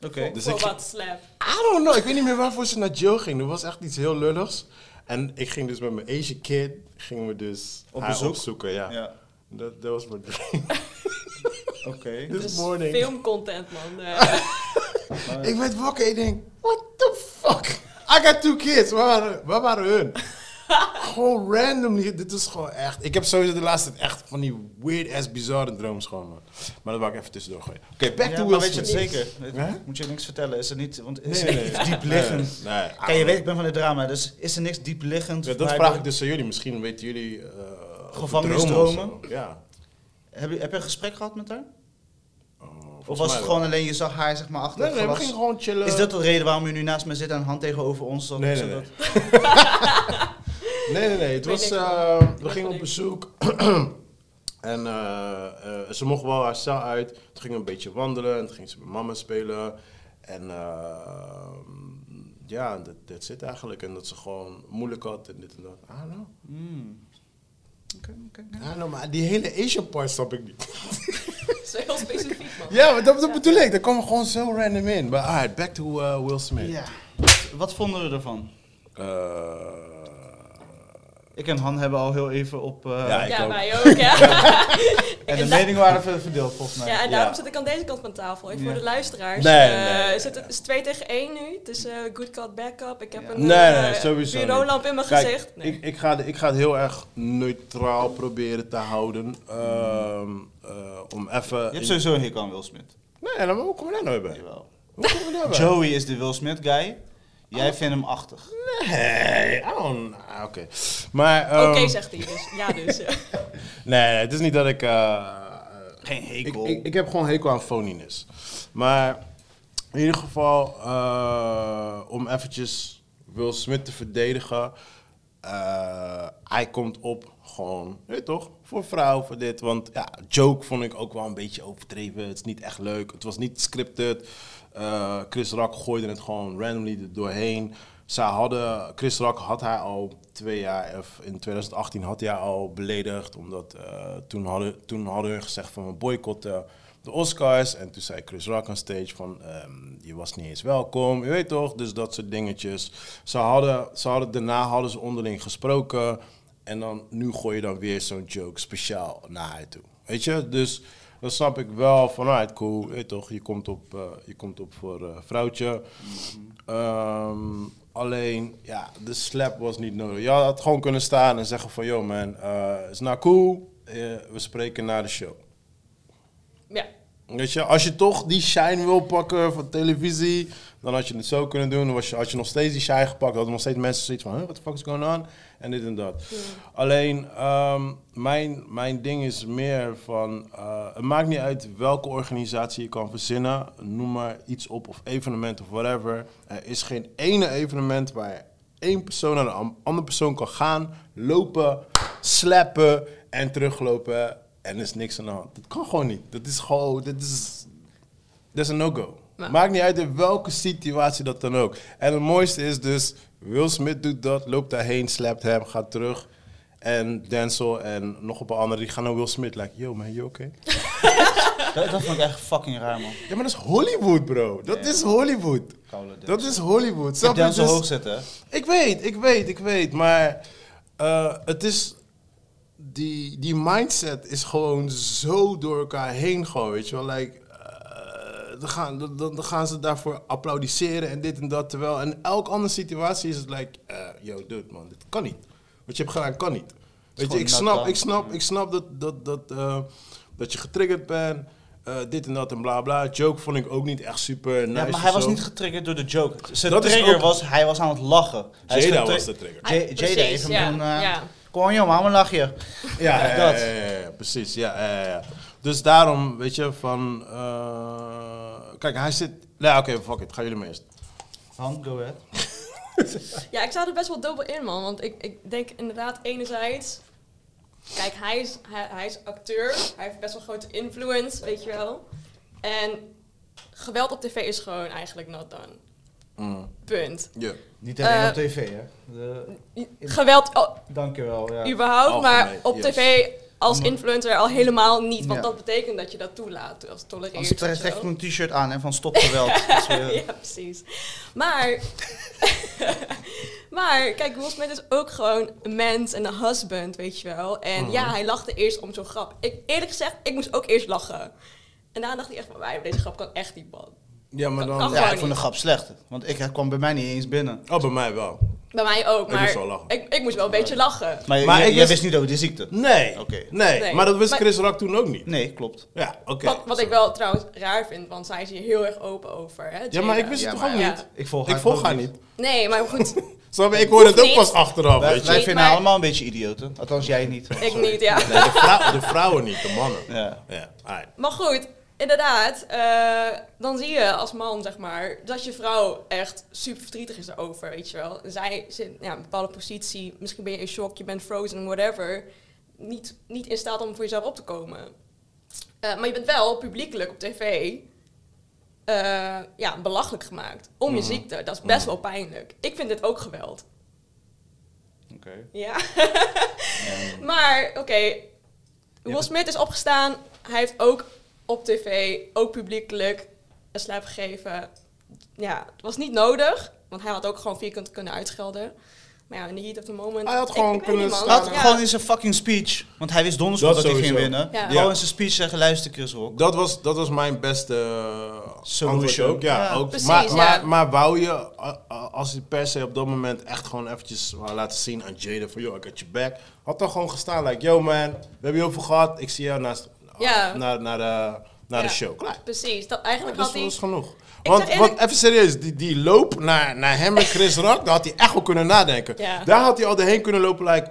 D: Oké.
A: Dus
B: Voor
A: ik-
B: wat slap.
A: I don't know. Ik weet niet meer waarvoor ze naar jail ging. Dat was echt iets heel lulligs. En ik ging dus met mijn Asian kid gingen we dus
D: Op
A: haar
D: bezoek?
A: opzoeken. Ja.
D: Ja,
A: Dat, dat was mijn dream.
D: oké.
A: This
B: Dus
A: morning.
B: filmcontent, man. Eh,
A: Ik werd wakker en ik denk, what the fuck? I got two kids. Waar waren, waar waren hun? gewoon random. hier. Dit is gewoon echt. Ik heb sowieso de laatste tijd echt van die weird ass bizarre dromes gewoon, man. Maar dat wou ik even tussendoor gooien. Oké, back
D: Ja,
A: to
D: maar
A: Will
D: weet je het
A: Smith.
D: zeker?
A: Hè?
D: Moet je niks vertellen? Is er niet... Want is
A: Nee,
D: er
A: nee,
D: iets
A: nee.
D: diep liggend?
A: Nee, nee.
D: Kijk, je weet, ik ben van het drama, dus is er niks diep liggend?
A: Ja, dat
D: waardoor-
A: vraag ik dus aan jullie. Misschien weten jullie... eh, over
D: Gevangenisdromen?
A: dromen of zo. Ja.
D: Heb je, heb je een gesprek gehad met haar?
A: Oh, volgens dus-
D: Of
A: mij
D: was het
A: wel.
D: gewoon alleen, je zag haar zeg maar achter
A: Nee,
D: het
A: nee, we
D: glas?
A: gingen gewoon chillen.
D: Is dat de reden waarom je nu naast me zit en een hand tegenover ons? zodat-
A: Nee, nee,
D: zodat-
A: Nee, nee, nee. Het
B: weet
A: was,
B: niks
A: eh, we
B: weet
A: gingen op
B: niks.
A: bezoek. en eh, eh, ze mocht wel haar cel uit. Toen gingen we een beetje wandelen. En toen ging ze met mama spelen. En eh, ja, dat, dat zit eigenlijk. En dat ze gewoon moeilijk had en dit en dat. Ah, nou.
D: Hmm. Oké, oké, oké.
A: Ah, nou, maar die hele Asian part snap ik niet.
B: dat is heel specifiek, man.
A: ja, maar dat, dat bedoel ik. Daar kwam gewoon zo random in. Maar alright, back to eh, Will Smith.
D: Ja. Wat vonden we ervan?
A: Eh,
D: Ik en Han hebben al heel even op. eh,
A: Ja, ik
B: ja,
A: ook.
B: wij ook, hè?
D: en de
B: en da-
D: meningen waren ver- verdeeld volgens mij.
B: Ja, en daarom
A: Ja.
B: zit ik aan deze kant van tafel. Even
D: Ja.
B: voor de luisteraars.
A: Nee,
B: Eh,
A: nee, nee,
B: is het is 2 tegen 1 nu. Het is eh, good cop, bad cop. Ik heb een
A: Nee, nee, nee,
B: eh,
A: sowieso niet.
B: bureaulamp in mijn
A: Kijk,
B: gezicht. Nee.
A: ik, ik, ga, de- ik ga het heel erg neutraal proberen te houden. ehm, eh, om even...
D: Je hebt
A: in-
D: sowieso een hik aan Will Smith.
A: Nee, nee, maar hoe kom je daar nou weer bij?
D: Jawel. Oh.
A: Hoe kom je daar nou bij?
D: Joey is de Will Smith guy. Jij vindt hem achtig.
A: Nee, I don't- ah, Oké. Maar...
B: Oké,
A: ehm,
B: zegt hij dus. Ja, dus. ja.
A: Nee, nee, het is niet dat ik... eh,
D: Geen
A: ik,
D: hekel.
A: ik, ik heb gewoon hekel aan phoniness. Maar in ieder geval, eh, om eventjes Will Smith te verdedigen. eh, hij komt op gewoon, weet je toch, voor vrouw, voor dit. Want ja, joke vond ik ook wel een beetje overdreven. Het is niet echt leuk. Het was niet scripted. Eh, Chris Rock gooide het gewoon randomly er doorheen. Zij hadden, Chris Rock had haar al twee jaar, of in 2018 had hij haar al beledigd. Omdat eh, toen, hadden, toen hadden hun gezegd van we boycotten de Oscars. En toen zei Chris Rock aan stage van ehm, je was niet eens welkom. Je weet toch, dus dat soort dingetjes. Ze hadden, ze hadden, daarna hadden ze onderling gesproken. En dan, nu gooi je dan weer zo'n joke speciaal naar haar toe. Weet je, dus dan snap ik wel vanuit, cool, weet je toch, je komt op, eh, je komt op voor eh, vrouwtje. Ehm, alleen, ja, de slap was niet nodig. Je had gewoon kunnen staan en zeggen van, yo man, eh is nou cool, eh, we spreken na de show.
B: Ja,
A: Weet je, als je toch die shine wil pakken van televisie, dan had je het zo kunnen doen. Dan was je, had je nog steeds die shine gepakt, hadden nog steeds mensen zoiets van, huh, what the fuck is going on? En dit en dat. Alleen, ehm, mijn, mijn ding is meer van, eh, het maakt niet uit welke organisatie je kan verzinnen. Noem maar iets op of evenement of whatever. Er is geen ene evenement waar één persoon naar een am- andere persoon kan gaan, lopen, slappen en teruglopen. En er is niks aan de hand. Dat kan gewoon niet. Dat is gewoon, dat is, dat is een no-go.
B: Ja.
A: Maakt niet uit in welke situatie dat dan ook. En het mooiste is dus, Will Smith doet dat, loopt daarheen, slapt hem, gaat terug. En Denzel en nog een paar anderen, die gaan naar Will Smith. Like, yo man, you okay?
D: Dat, dat vond ik echt fucking raar, man.
A: Ja, maar dat is Hollywood, bro. Dat is Hollywood.
D: Koude Denzel.
A: Dat is Hollywood.
D: Ik
A: Snap
D: heb
A: je?
D: Denzel
A: Dus-
D: hoog zitten, hè?
A: Ik weet, ik weet, ik weet. Maar eh, het is... Die, die mindset is gewoon zo door elkaar heen gewoon, weet je wel. Like, eh, dan, gaan, dan, dan dan gaan ze daarvoor applaudisseren en dit en dat. Terwijl in elk andere situatie is het like... eh, yo, dude, man, dit kan niet. Wat je hebt gedaan, kan niet. Weet je,
D: gewoon
A: ik
D: nat
A: snap,
D: dan.
A: ik snap, ik snap dat, dat, dat, eh, dat je getriggerd bent. eh, dit en dat en bla bla. Joke vond ik ook niet echt super nice
D: ja, maar
A: of
D: hij was
A: zo.
D: niet getriggerd door de joke. Zijn
A: Dat is
D: trigger
A: ook-
D: was, hij was aan het lachen. Hij is
A: Jada
D: getri-
A: was de trigger.
D: J- Jada
B: precies,
D: heeft hem
B: ja,
D: toen... eh,
B: ja.
D: Kom on, joh, waarom lach je?
A: Ja,
D: Ja, eh,
A: ja,
D: dat.
A: ja, ja, ja, precies. Ja, ja, ja. Dus daarom, weet je, van... eh, kijk, hij zit... Nee, oké, fuck it. Gaan jullie mee eerst.
D: Han, go ahead.
B: Ja, ik sta er best wel dubbel in, man. Want ik, ik denk inderdaad, enerzijds. Kijk, hij is, hij, hij is acteur. Hij heeft best wel grote influence, weet je wel. En geweld op tv is gewoon eigenlijk not done.
A: Mm.
B: Punt.
A: Ja.
D: Niet
B: alleen Eh, op
D: tv, hè? De,
B: Geweld oh,
D: dankjewel, ja.
B: überhaupt, maar
A: Algemeen,
B: op
A: yes.
B: tv als influencer al helemaal niet. Want
E: Ja.
B: dat betekent dat je dat toelaat, als tolereert.
E: Als
B: of
E: trek
B: zo.
E: trek ik een t-shirt
D: Shirt aan, hè, van stop geweld. Dat is weer-
B: ja, precies. Maar, maar kijk, Will Smith is ook gewoon een mens en een husband, weet je wel. En
A: Mhm.
B: ja, hij lachte eerst om zo'n grap. Ik, eerlijk gezegd, ik moest ook eerst lachen. En daarna dacht ik echt van, wij, deze grap kan echt niet, man.
A: Ja, maar dan...
B: Kan
D: Ja,
B: gewoon
D: ik vond de grap slecht. Want ik, hij kwam bij mij niet eens binnen.
A: Oh, bij mij wel.
B: Bij mij ook,
A: Ik
B: maar
A: moest
B: ik
A: wel
B: moest,
A: lachen.
B: ik, moest wel een beetje lachen.
D: Maar,
A: Maar ik
D: jij, jij
A: wist-
D: wist niet over die ziekte?
A: Nee.
D: Oké.
A: Nee.
B: Nee.
A: Maar dat wist
B: Maar-
A: Chris Rock toen ook niet.
D: Nee, klopt.
A: Ja, oké.
B: wat wat ik wel trouwens raar vind, want zij is hier heel erg open over. Hè,
A: Ja,
B: Jada.
A: maar ik wist het toch ook
B: maar-
A: niet?
D: Ik volg
A: Ik
D: haar
A: volg
D: ook
A: haar niet.
B: Nee, maar goed,
A: Snap je? Ik hoorde het ook
B: niet.
A: pas achteraf,
D: Wij,
A: weet je.
D: wij
B: Nee,
D: vinden
B: maar-
D: haar allemaal een beetje idioten. Althans, jij niet.
B: ik niet, ja.
A: Nee, de, vrou- de vrouwen niet, de mannen.
D: Ja.
A: Ja, alright.
B: Maar goed, inderdaad, eh, dan zie je als man, zeg maar, dat je vrouw echt super verdrietig is erover, weet je wel. Zij zit ja, in een bepaalde positie, misschien ben je in shock, je bent frozen, whatever. Niet, niet in staat om voor jezelf op te komen. Eh, maar je bent wel publiekelijk op tv eh, ja, belachelijk gemaakt om je ziekte. Dat is best wel pijnlijk. Ik vind dit ook geweld.
D: Oké.
B: Ja. maar, oké. Will Smith is opgestaan. Hij heeft ook op tv, ook publiekelijk, een slap gegeven. Ja, het was niet nodig. Want hij had ook gewoon vierkant kunnen uitschelden. Maar ja, in the heat of the moment...
A: Hij had
B: ik-
A: gewoon
B: ik weet
A: kunnen
B: niet, man.
A: staan.
D: Laat
B: Ja.
D: gewoon in zijn fucking speech, want hij wist donders goed dat,
A: Dat
D: hij ging
A: sowieso.
D: winnen.
B: Ja.
D: Gewoon
A: Ja.
D: in zijn speech zeggen, luister Chris Rock.
A: Dat was, dat was mijn beste eh,
D: Solution.
A: antwoord ook. Ja,
D: Ja,
A: ook.
B: precies,
A: maar,
B: ja.
A: Maar, maar wou je, a- a- als hij per se op dat moment echt gewoon eventjes wou laten zien aan Jada van... ...yo, ik had je back. Had dan gewoon gestaan, like, yo man, we hebben je over gehad. Ik zie jou naast,
B: Ja.
A: naar, naar, de, naar de
B: Ja.
A: show. Klaar.
B: Precies. Dat, eigenlijk
A: Dat
B: had hij...
A: was genoeg. Want,
B: zeg
A: want
B: eerlijk-
A: even serieus, die, die loop naar, naar hem en Chris Rock, daar had hij echt wel kunnen nadenken.
B: Ja.
A: Daar had hij al doorheen kunnen lopen, like,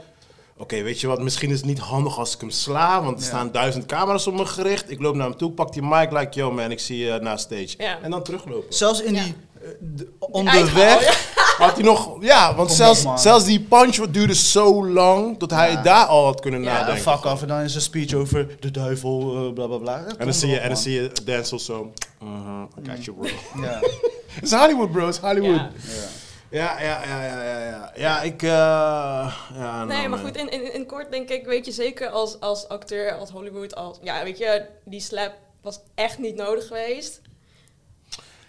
A: oké, weet je wat, misschien is het niet handig als ik hem sla, want er staan duizend camera's op me gericht. Ik loop naar hem toe, pak die mic, like, yo man, ik zie je naast stage.
B: Ja.
A: En dan teruglopen.
D: Zelfs in
B: Ja.
D: die... eh, de-
B: uithaal, ja.
D: onderweg...
A: Had hij nog, ja, want
D: Kom
A: zelfs,
D: op, man.
A: zelfs die punch duurde zo lang, dat hij daar al had kunnen
B: Ja,
D: Ja,
A: nadenken.
D: fuck af. En dan is een speech over de duivel, eh, bla bla bla.
A: En dan, zie je, en dan zie je Denzel zo, mhm, I got you bro.
D: Ja.
A: It's Hollywood bro, it's Hollywood.
B: Ja.
A: Ja, ja, ja, ja, ja. Ja, ja ik... eh, ja,
B: Nee,
A: nou,
B: maar
A: man.
B: goed, in, in, in kort denk ik, weet je, zeker als, als acteur, als Hollywood, als... Ja, weet je, die slap was echt niet nodig geweest.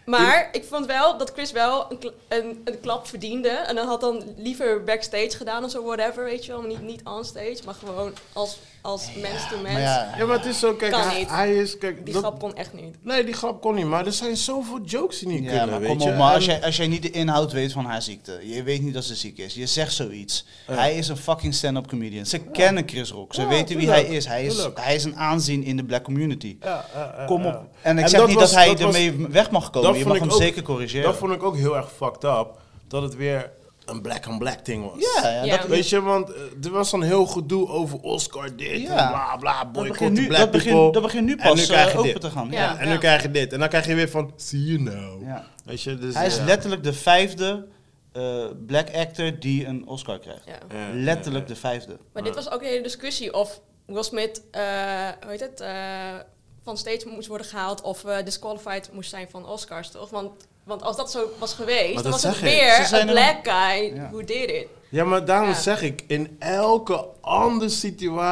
B: Maar ik vond wel dat Chris wel een, kla- een, een klap verdiende. En dan had dan liever backstage gedaan of zo, whatever, weet je wel. Niet, niet onstage, maar gewoon als, als mens to mens.
D: Maar ja,
A: Ja, maar het is zo, kijk,
B: Kan
A: hij,
B: niet.
A: hij is... Kijk,
B: Die
A: dat-
B: grap kon echt niet.
A: Nee, die grap kon niet, maar er zijn zoveel jokes die niet
D: Ja,
A: kunnen,
D: maar
A: weet
D: kom
A: je.
D: op, maar als
A: En-
D: jij, als jij niet de inhoud weet van haar ziekte, je weet niet dat ze ziek is, je zegt zoiets. Hij is een fucking stand-up comedian. Ze kennen Chris Rock, ze
A: Ja,
D: weten wie
A: tuurlijk,
D: hij is. Hij is,
A: tuurlijk.
D: hij is een aanzien in de black community.
A: Ja, ja, ja,
D: Kom
A: ja.
D: op. En ik
A: En
D: zeg
A: dat
D: niet
A: was-
D: dat hij
A: dat was-
D: ermee weg mag komen, je
A: vond
D: mag
A: ik
D: hem
A: ook-
D: zeker corrigeren.
A: Dat vond ik ook heel erg fucked up. Dat het weer een black-on-black ding was.
D: ja, ja,
B: Ja.
D: Dat,
A: Weet je, want eh, er was dan heel gedoe over Oscar dit
D: Ja.
A: en bla bla,
D: dat
A: boycott
D: begint
A: de
D: nu,
A: black
D: dat
A: people.
D: begint, dat begint nu
A: En nu
D: pas
A: krijg
D: eh,
A: je
D: open
A: dit.
D: te gaan.
B: Ja.
D: Ja.
A: en dan krijg je dit. En dan krijg je weer van, see you now.
D: Ja.
A: Weet je, dus...
D: Hij is
A: ja.
D: letterlijk de vijfde eh, black actor die een Oscar krijgt.
B: Ja.
A: Ja,
D: Letterlijk de vijfde.
B: Maar dit was ook een hele discussie of Will Smith, eh, hoe heet het, eh, van steeds moest worden gehaald of eh, disqualified moest zijn van Oscars, toch? Want, want als dat zo was geweest,
A: Maar
B: dan
A: dat
B: was het
A: zeg ik.
D: Ze
B: weer
D: zijn
B: een black guy who did it.
A: Ja, maar daarom
B: Ja.
A: zeg ik, in elke andere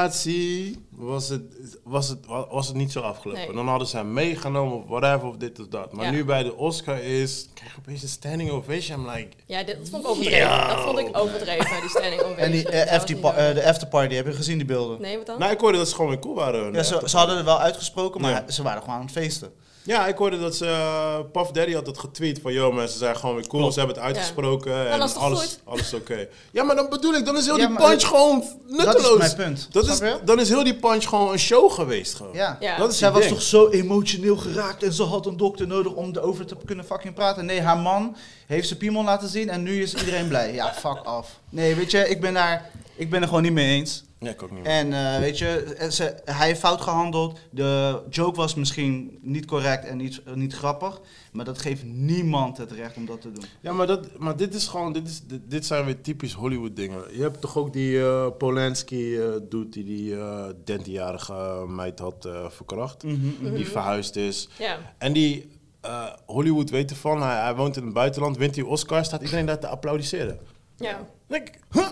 A: situatie was het, was het, wa- was het niet zo afgelopen.
B: Nee.
A: Dan hadden ze hem meegenomen of whatever, of dit of dat. Maar
B: Ja.
A: nu bij de Oscar is, krijg je opeens een standing ovation. I'm like,
B: Ja, dit, dat vond ik overdreven.
A: Yo.
B: Dat vond ik overdreven, die standing ovation.
D: En die, eh,
B: Dat was
D: after
B: niet
D: pa-
B: nodig.
D: eh, de afterparty, heb je gezien die beelden?
B: Nee, wat dan?
A: nou, ik hoorde dat ze gewoon weer cool waren. hun,
D: Ja, ze,
A: hè.
D: ze hadden het wel uitgesproken, maar
A: Ja.
D: ze waren gewoon aan het feesten.
A: ja, ik hoorde dat ze, eh, Puff Daddy had dat getweet van, yo mensen zijn gewoon weer cool, ze hebben het uitgesproken en
B: dat is toch
A: alles,
B: goed?
A: alles oké. Ja, maar dan bedoel ik, dan is heel
D: Ja,
A: die
D: maar-
A: punch gewoon nutteloos.
D: mijn punt.
A: Dat
D: Snap
A: is,
D: je?
A: dan is heel die punch gewoon een show geweest gewoon.
D: Ja.
B: Ja.
A: Dat is
D: Zij
A: het
D: was
A: ding.
D: toch zo emotioneel geraakt en ze had een dokter nodig om erover te kunnen fucking praten. Nee, haar man heeft zijn piemel laten zien en nu is iedereen blij. Ja, fuck af. Nee, weet je, ik ben daar, ik ben er gewoon niet mee eens.
A: Ja, ik ook niet.
D: En eh, weet je, ze, hij heeft fout gehandeld. De joke was misschien niet correct en niet, niet grappig. Maar dat geeft niemand het recht om dat te doen.
A: Ja, maar, dat, maar dit is gewoon, dit, is, dit, dit zijn weer typisch Hollywood dingen. Je hebt toch ook die eh, Polanski eh doet die die eh 13-jarige meid had eh, verkracht. Die verhuisd is.
B: Ja.
A: En die eh, Hollywood weet ervan, hij, hij woont in het buitenland, wint die Oscar, staat iedereen daar te applaudisseren.
B: ja.
A: Dan denk ik, huh?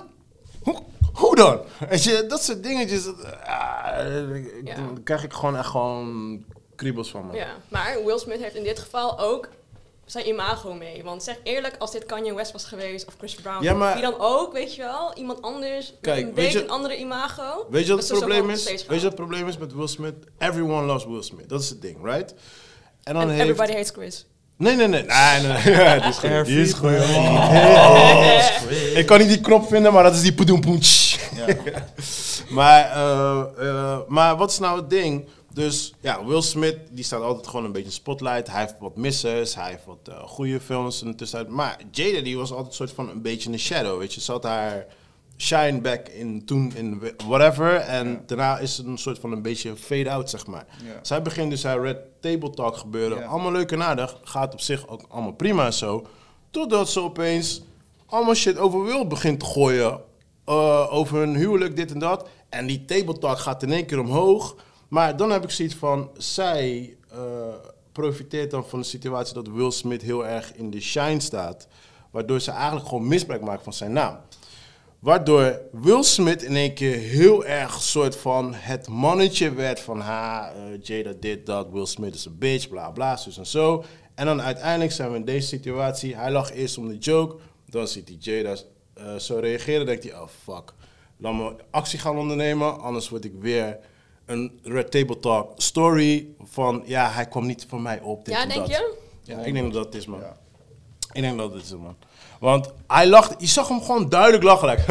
A: Hoe, hoe dan? Weet je, dat soort dingetjes, dat, ah, ik- ik-
B: Ja.
A: dan krijg ik gewoon echt gewoon kriebels van me.
B: Ja, maar Will Smith heeft in dit geval ook zijn imago mee. Want zeg eerlijk, als dit Kanye West was geweest of Chris Brown,
A: Ja, maar-
B: wie dan ook, weet je wel, iemand anders,
A: Kijk,
B: met
A: weet
B: een beetje
A: je-
B: een andere imago.
A: Weet je
B: dat
A: wat het
B: ze zo
A: probleem
B: gewoon
A: is?
B: steeds
A: Weet je wat het probleem is met Will Smith? Everyone loves Will Smith. Dat is het ding, right? En
B: gaan.
A: dan
B: En
A: heeft...
B: Everybody hates Chris.
A: Nee, nee, nee. Ah, Nee, nee, nee. Ja, die is goed. Die is goed. Oh. Ik kan niet die knop vinden, maar dat is die poedoempoentje. maar, eh, eh, maar wat is nou het ding? Dus ja, Will Smith, die staat altijd gewoon een beetje in de spotlight. Hij heeft wat missers, hij heeft wat eh, goede films in de tussentijd. Maar Jada, die was altijd soort van een beetje in de shadow, weet je. Ze had haar shine back in toen in whatever. En daarna is het een soort van een beetje fade-out, zeg maar.
D: Ja.
A: Zij begint dus haar Red Table Talk gebeuren.
D: Ja.
A: Allemaal leuk en aardig. Gaat op zich ook allemaal prima en zo. Totdat ze opeens allemaal shit over Will begint te gooien. Eh, over hun huwelijk, dit en dat. En die Table Talk gaat in één keer omhoog. Maar dan heb ik zoiets van... Zij eh, profiteert dan van de situatie dat Will Smith heel erg in de shine staat. Waardoor ze eigenlijk gewoon misbruik maakt van zijn naam. Waardoor Will Smith in één keer heel erg soort van het mannetje werd van ha, eh, Jada dit, dat, Will Smith is een bitch, bla bla, dus en zo. En dan uiteindelijk zijn we in deze situatie, hij lag eerst om de joke, dan ziet hij Jada eh, zo reageren, denkt hij, oh fuck, laat me actie gaan ondernemen, anders word ik weer een Red Table Talk story van ja, hij kwam niet voor mij op. dit
B: Ja,
A: en
B: denk
A: dat.
B: je?
A: Ja, ik denk dat dat het is, man. Ik denk dat het is, man. Want hij lachte, je zag hem gewoon duidelijk lachen. like.